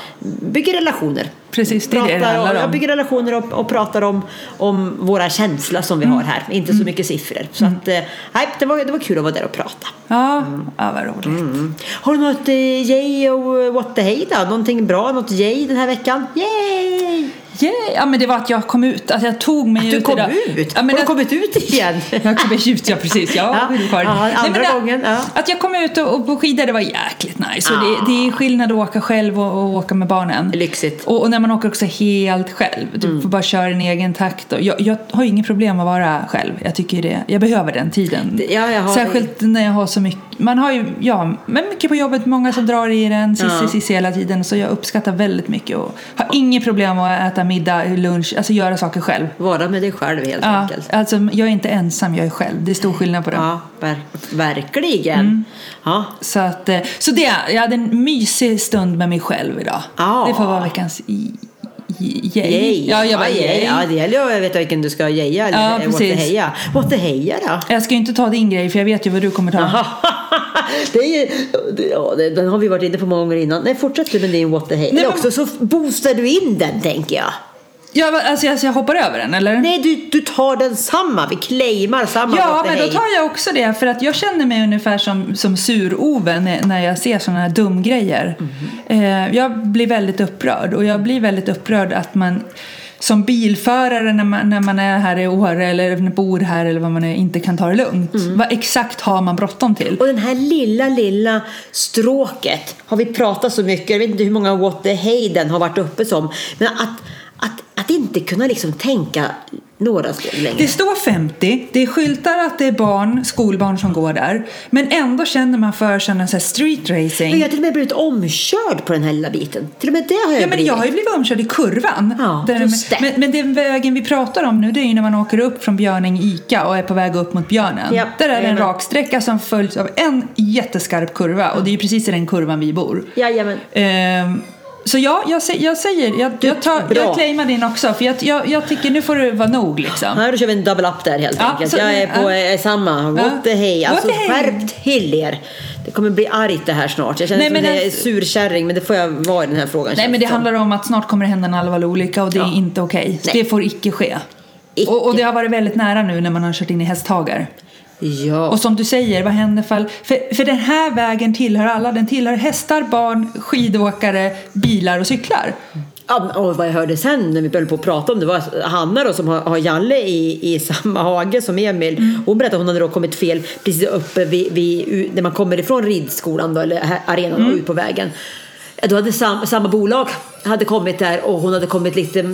Bygger relationer.
Ah. Precis, det är det det
Pratar
handlar
och,
om.
ja, bygger relationer och, och pratar om, om våra känslor som vi
Mm.
har här, inte så mycket siffror. Så att, eh, nej, det, var, det var kul att vara där och prata.
Ja,
Mm.
ja vad roligt.
Har du något eh, yay och eh, what the hey då? Någonting bra, något yay den här veckan? Yay!
Yeah. Ja, men det var att jag kom ut, att jag tog mig ut
Du kom
idag.
ut!
Ja, men
Har du
jag-
kommit ut igen?
Jag kom ut, ja precis. Jag
Ja,
var skidkvar.
ja,
Nej, men
andra
att-
gången, ja.
Att jag kom ut och, och på skidor, det var jäkligt nice. Och
Ah.
det, det är skillnad att åka själv och, och åka med barnen.
Lyxigt.
Och, och när man åker också helt själv, du
Mm.
får bara köra i din egen takt. Och jag, jag har ju inget problem att vara själv. Jag tycker det, jag behöver den tiden.
Det- ja, jag har-
Särskilt när jag har så mycket, man har ju, ja, men mycket på jobbet, många som drar i den, sissi
Ja.
sissi hela tiden. Så jag uppskattar väldigt mycket och har inget problem att äta middag, lunch, alltså göra saker själv.
Vara med dig själv helt
Ja,
enkelt.
alltså jag är inte ensam, jag är själv. Det är stor skillnad på det.
Ja, ver- verkligen.
Mm.
Ja.
Så, att, eh, så det, jag hade en mysig stund med mig själv idag.
Ja.
Det får vara veckans i- i- yay.
Yay.
Ja, jag bara
ja,
yay.
Ja, det gäller ju att veta vilken du ska geja eller
Ja,
ja, what the
precis.
heja. What the heja då?
Jag ska ju inte ta din grej för jag vet ju vad du kommer ta.
det är ju, det, ja, det, den har vi varit inne på många gånger innan. Nej, fortsätt du med din what the heja.
Nej,
Eller
men-
också så boostar du in den tänker jag.
Ja, va- alltså, alltså jag hoppar över den eller?
Nej, du, du tar den samma. Vi claimar samma
Ja,
what the
men då
hey.
tar jag också det för att jag känner mig ungefär som, som sur-Ove när, när jag ser sådana här dumgrejer. Eh, jag blir väldigt upprörd och jag blir väldigt upprörd att man som bilförare när man, när man är här i Åre eller bor här eller vad man är, inte kan ta det lugnt. Vad exakt har man bråttom till?
Och den här lilla, lilla stråket har vi pratat så mycket, jag vet inte hur många what the hey den har varit uppe som, men att, att, att inte kunna liksom tänka några steg längre.
Det står 50, det är skyltar att det är barn, skolbarn som går där. Men ändå känner man för sig någon sån här street racing.
Men jag har till och med blivit omkörd på den här lilla biten. Till och med det har jag
Ja, men
blivit.
jag har ju blivit omkörd i kurvan.
Ja,
Där-
just det.
men, men den vägen vi pratar om nu det är ju när man åker upp från Björning Ica och är på väg upp mot Björnen.
Japp,
Där är det en
jajamän.
raksträcka som följs av en jätteskarp kurva och det är ju precis i den kurvan vi bor.
Jajamän.
Ehm, så ja, jag, sä- jag säger, jag, jag, tar,
bra.
jag claimar din också för jag, jag, jag tycker nu får det vara nog liksom.
Ja, då kör vi en double up där helt
Ja,
enkelt.
så-
jag är på
ja.
eh, samma. What
Ja.
the hey.
What
Alltså
the hey.
skärpt till er. Det kommer bli argt det här snart. Jag känner
Nej,
som
men
att jag är
alltså-
surkärring men det får jag vara i den här frågan.
Nej
känns
men det
som.
handlar om att snart kommer det hända en allvarlig olycka och det är inte okej.
Nej.
Det får icke ske.
Icke.
Och, och det har varit väldigt nära nu när man har kört in i hästhagar.
Ja.
Och som du säger, vad händer fall... För, för den här vägen tillhör alla. Den tillhör hästar, barn, skidåkare, bilar och cyklar.
Ja, men, och vad jag hörde sen när vi började på att prata om det var Hanna då som har, har Jalle i, i samma hage som Emil. Hon berättade att hon hade då kommit fel precis uppe vid, vid, u- när man kommer ifrån ridskolan då, eller här- arenan och ut på vägen. Ja, Då hade sam, samma bolag hade kommit där och hon hade kommit lite, eh,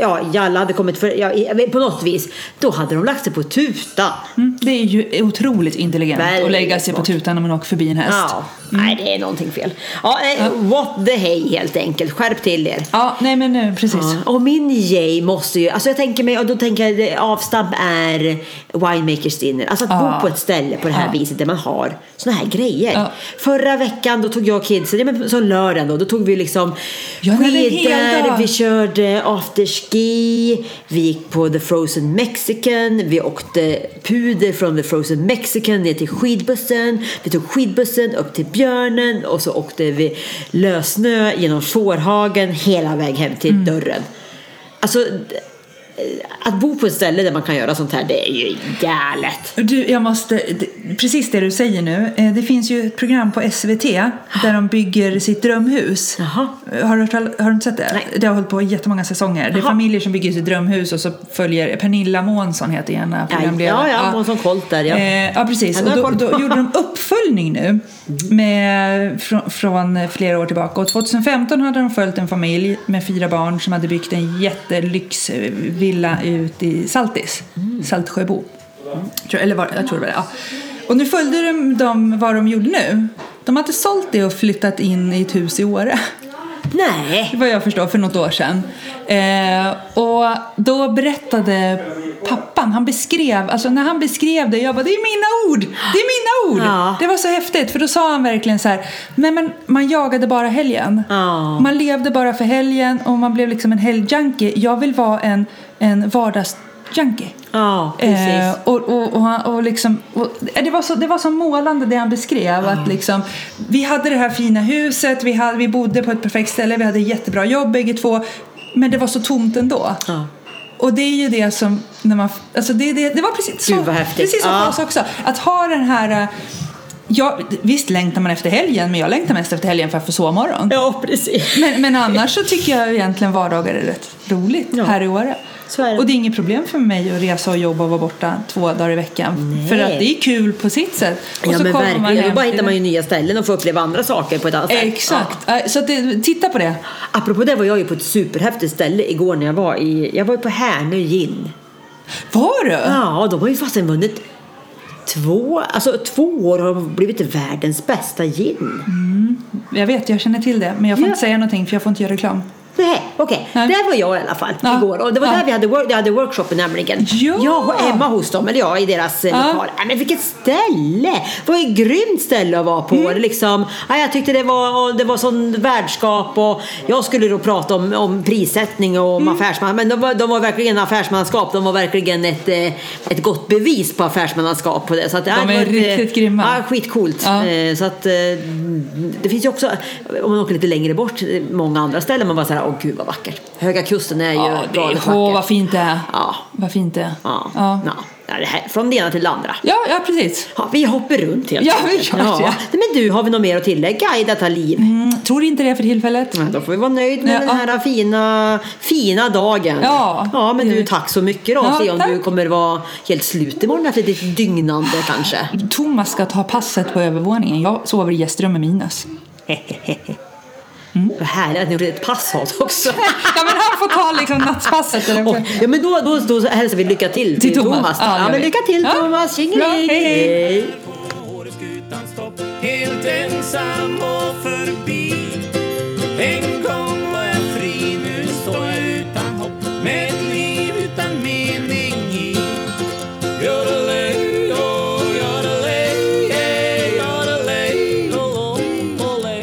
ja Jalle hade kommit för, ja, i- eh, på något vis. Då hade de lagt sig på tutan.
Mm. Det är ju otroligt intelligent att
Väldigt
lägga sig på
smart.
tutan när man åker förbi en häst.
Ja, nej det är någonting fel. Ja, nej, What the hey helt enkelt, skärp till er.
Ja, nej men nu, precis.
Ja, Och min yay måste ju, alltså jag tänker mig, och då tänker jag det- avstamp är winemakers dinner. Alltså att
Ja.
bo på ett ställe på det här
Ja.
viset där man har såna här grejer.
Ja.
Förra veckan då tog jag och kidsen, ja, men så lördagen då, då tog vi liksom
Ja, det är en hel dag.
skidor, vi körde afterski, vi gick på the frozen mexican, vi åkte puder från the frozen mexican ner till skidbussen, vi tog skidbussen upp till björnen och så åkte vi Mm. lössnö genom fårhagen hela vägen hem till dörren. Alltså, d- att bo på ett ställe där man kan göra sånt här, det är ju galet.
Du, jag måste, det- precis det du säger nu. eh, Det finns ju ett program på SVT där de bygger sitt drömhus.
Jaha.
Eh, Har, du, hört tal- har du inte sett det?
Nej.
Det har hållit på i jättemånga säsonger. Det är
Jaha.
familjer som bygger sitt drömhus och så följer Pernilla Månsson heter ena programledaren.
Ja, ja, Månsson Colt där, ja.
Eh, ja, precis.
Henne har
Och
jag
då,
koll på.
då gjorde de uppföljning nu med, från, från eh, flera år tillbaka. Och 2015 hade de följt en familj med fyra barn som hade byggt en jättelyxvilla ut i Saltis, Saltsjöbo. Tror, eller var, jag tror det var det. Ja. Och nu följde de dem vad de gjorde nu. De hade sålt det och flyttat in i ett hus i Åre.
Nej!
Vad jag förstår för något år sedan. Eh, och då berättade pappan, han beskrev, alltså när han beskrev det, jag bara det är mina ord! Det är mina ord!
Ja.
Det var så häftigt för då sa han verkligen så här, nej men man jagade bara helgen.
Ja.
Man levde bara för helgen och man blev liksom en helgjunkie. Jag vill vara en, en vardagsjunkie.
Ja, precis.
Eh, och, och, och, han- och liksom, och, det, var så, det var så målande det han beskrev.
Mm.
Att liksom, vi hade det här fina huset, vi, hade, vi bodde på ett perfekt ställe, vi hade jättebra jobb bägge två. Men det var så tomt ändå.
Ja.
Och det är ju det som, när man, alltså det, det, det var precis så,
Gud, vad häftigt.
precis som
Ja.
för oss också. Att ha den här, eh, ja, visst längtar man efter helgen, men jag längtar mest efter helgen för att få sovmorgon.
Ja, precis.
Men, men annars så tycker jag egentligen vardagar är rätt roligt
Ja.
här i Åre.
Så är det.
Och det är inget problem för mig att resa och jobba och vara borta två dagar i veckan.
Nej.
För att det är kul på sitt sätt. Och
ja, men verkligen. Då bara
till
hittar man
det.
ju nya ställen och får uppleva andra saker på ett annat sätt.
Exakt. Eh, Så att det, titta på det.
Ja. Apropå det var jag ju på ett superhäftigt ställe igår när jag var i, jag var ju på Härnö gin.
Var du?
Ja, de har ju fasen vunnit två, alltså två år har de blivit världens bästa gin.
Jag vet, jag känner till det. Men jag får
Ja.
inte säga någonting för jag får inte göra reklam.
Nej, okej.
Nej.
Där var jag i alla fall
Ja.
igår. Och det var
Ja.
där vi hade, work, jag hade workshopen nämligen.
Ja.
Jag och Emma hos dem, eller jag i deras ja.
Ja.
lokal. Nej, men vilket ställe! Det var ett grymt ställe att vara på.
Mm.
Det Liksom, ja, jag tyckte det var, det var sån värdskap och jag skulle då prata om, om prissättning och om
Mm.
affärsman. Men de var, de var verkligen affärsmanskap. De var verkligen ett, eh, ett gott bevis på affärsmannaskap. På det. Så att, ja,
De
det
är
var ett, eh,
riktigt grymma.
Ja, skitcoolt.
Ja.
Eh, Så att, eh, det finns ju också, om man åker lite längre bort, eh, många andra ställen man bara såhär, åh gud vad vackert. Höga kusten är ju
Ja, det är,
galet
åh,
vacker.
vad fint det är.
Ja.
Vad fint det är.
Ja.
Ja.
Ja. det här, från det ena till det andra.
Ja, ja, precis.
Ja, vi hoppar runt helt
Ja, vi gör det.
Nej, Men du, har vi något mer att tillägga i detta liv?
Mm, tror inte det för tillfället.
Ja, då får vi vara nöjd med
Mm. Ja.
den här fina, fina dagen.
Ja.
ja men du, tack så mycket då.
Ja,
Se om
tack.
du kommer vara helt slut imorgon efter ditt dygnande kanske.
Mm. Thomas ska ta passet på övervåningen. Jag sover i gästrum med Minus.
Vad härligt att ni gjorde ett pass åt också.
Ja men han får ta liksom nattpasset. Eller?
Och, ja, men då, då, då hälsar vi lycka till
Till Thomas. Ja,
Ja,
det gör
men
vi.
lycka till
Ja.
Thomas.
Bra,
Tjingeling.
hej, hej.
Åreskutan stopp Helt ensam och förbi En gång var jag fri Nu står jag utan hopp Med ett liv utan mening i Yodelej, oh, yodelej, eh, yodelej, oh, oh, olej.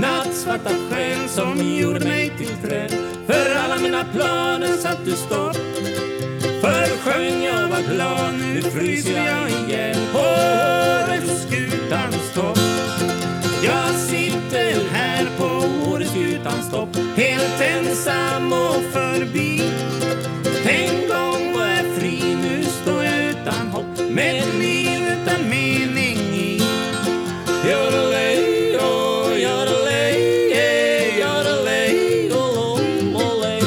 Nattsvarta sken som gjorde mig till träd För alla mina planer satte stopp Förr sjöng jag var glad, nu fryser jag igen på Åreskutans topp Jag sitter här på Åreskutans topp Helt ensam och förbi En gång var jag fri, nu står jag utan hopp Med ett liv utan mening i Yodelay, oh, yodelay, eh, yodelay, oh, oh, olay.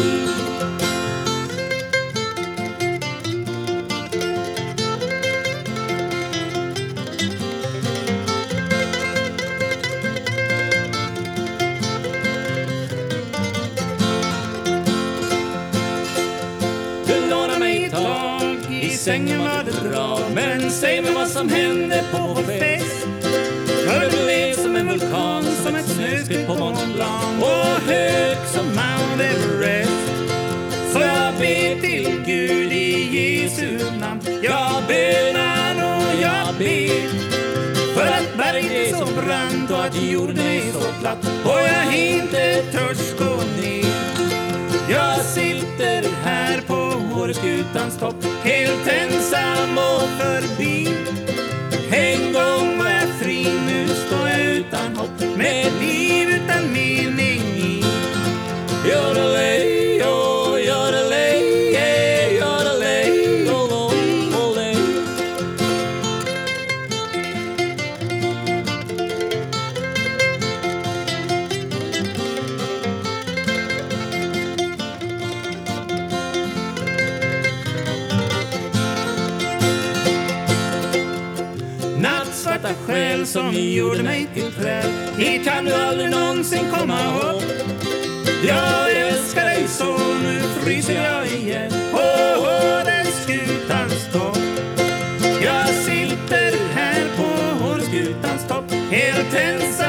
Du lånar mig ett tag, i sängen var det bra Men säg mig vad som hände på vår fest För du blev som en vulkan, som ett snöskred på Mont Blanc Och hög som Mount Everest Så jag ber till Gud i Jesu namn Jag bönar och jag ber för att berget är så brant och att jorden är så platt och jag inte törs gå ner jag sitter stopp Helt ensam och förbi En gång var jag fri, nu står jag utan hopp Med ett liv utan mening i Yodelay, yo, yodelay, yeah, yodelay, yo, lo, olay. Nattsvarta själ som gjorde mig till träd Hit kan du aldrig någonsin komma upp Jag älskar dig så, nu fryser jag igen På Hårdhällsskutans topp Jag sitter här på Hårdhällsskutans topp Helt ensam oh, oh,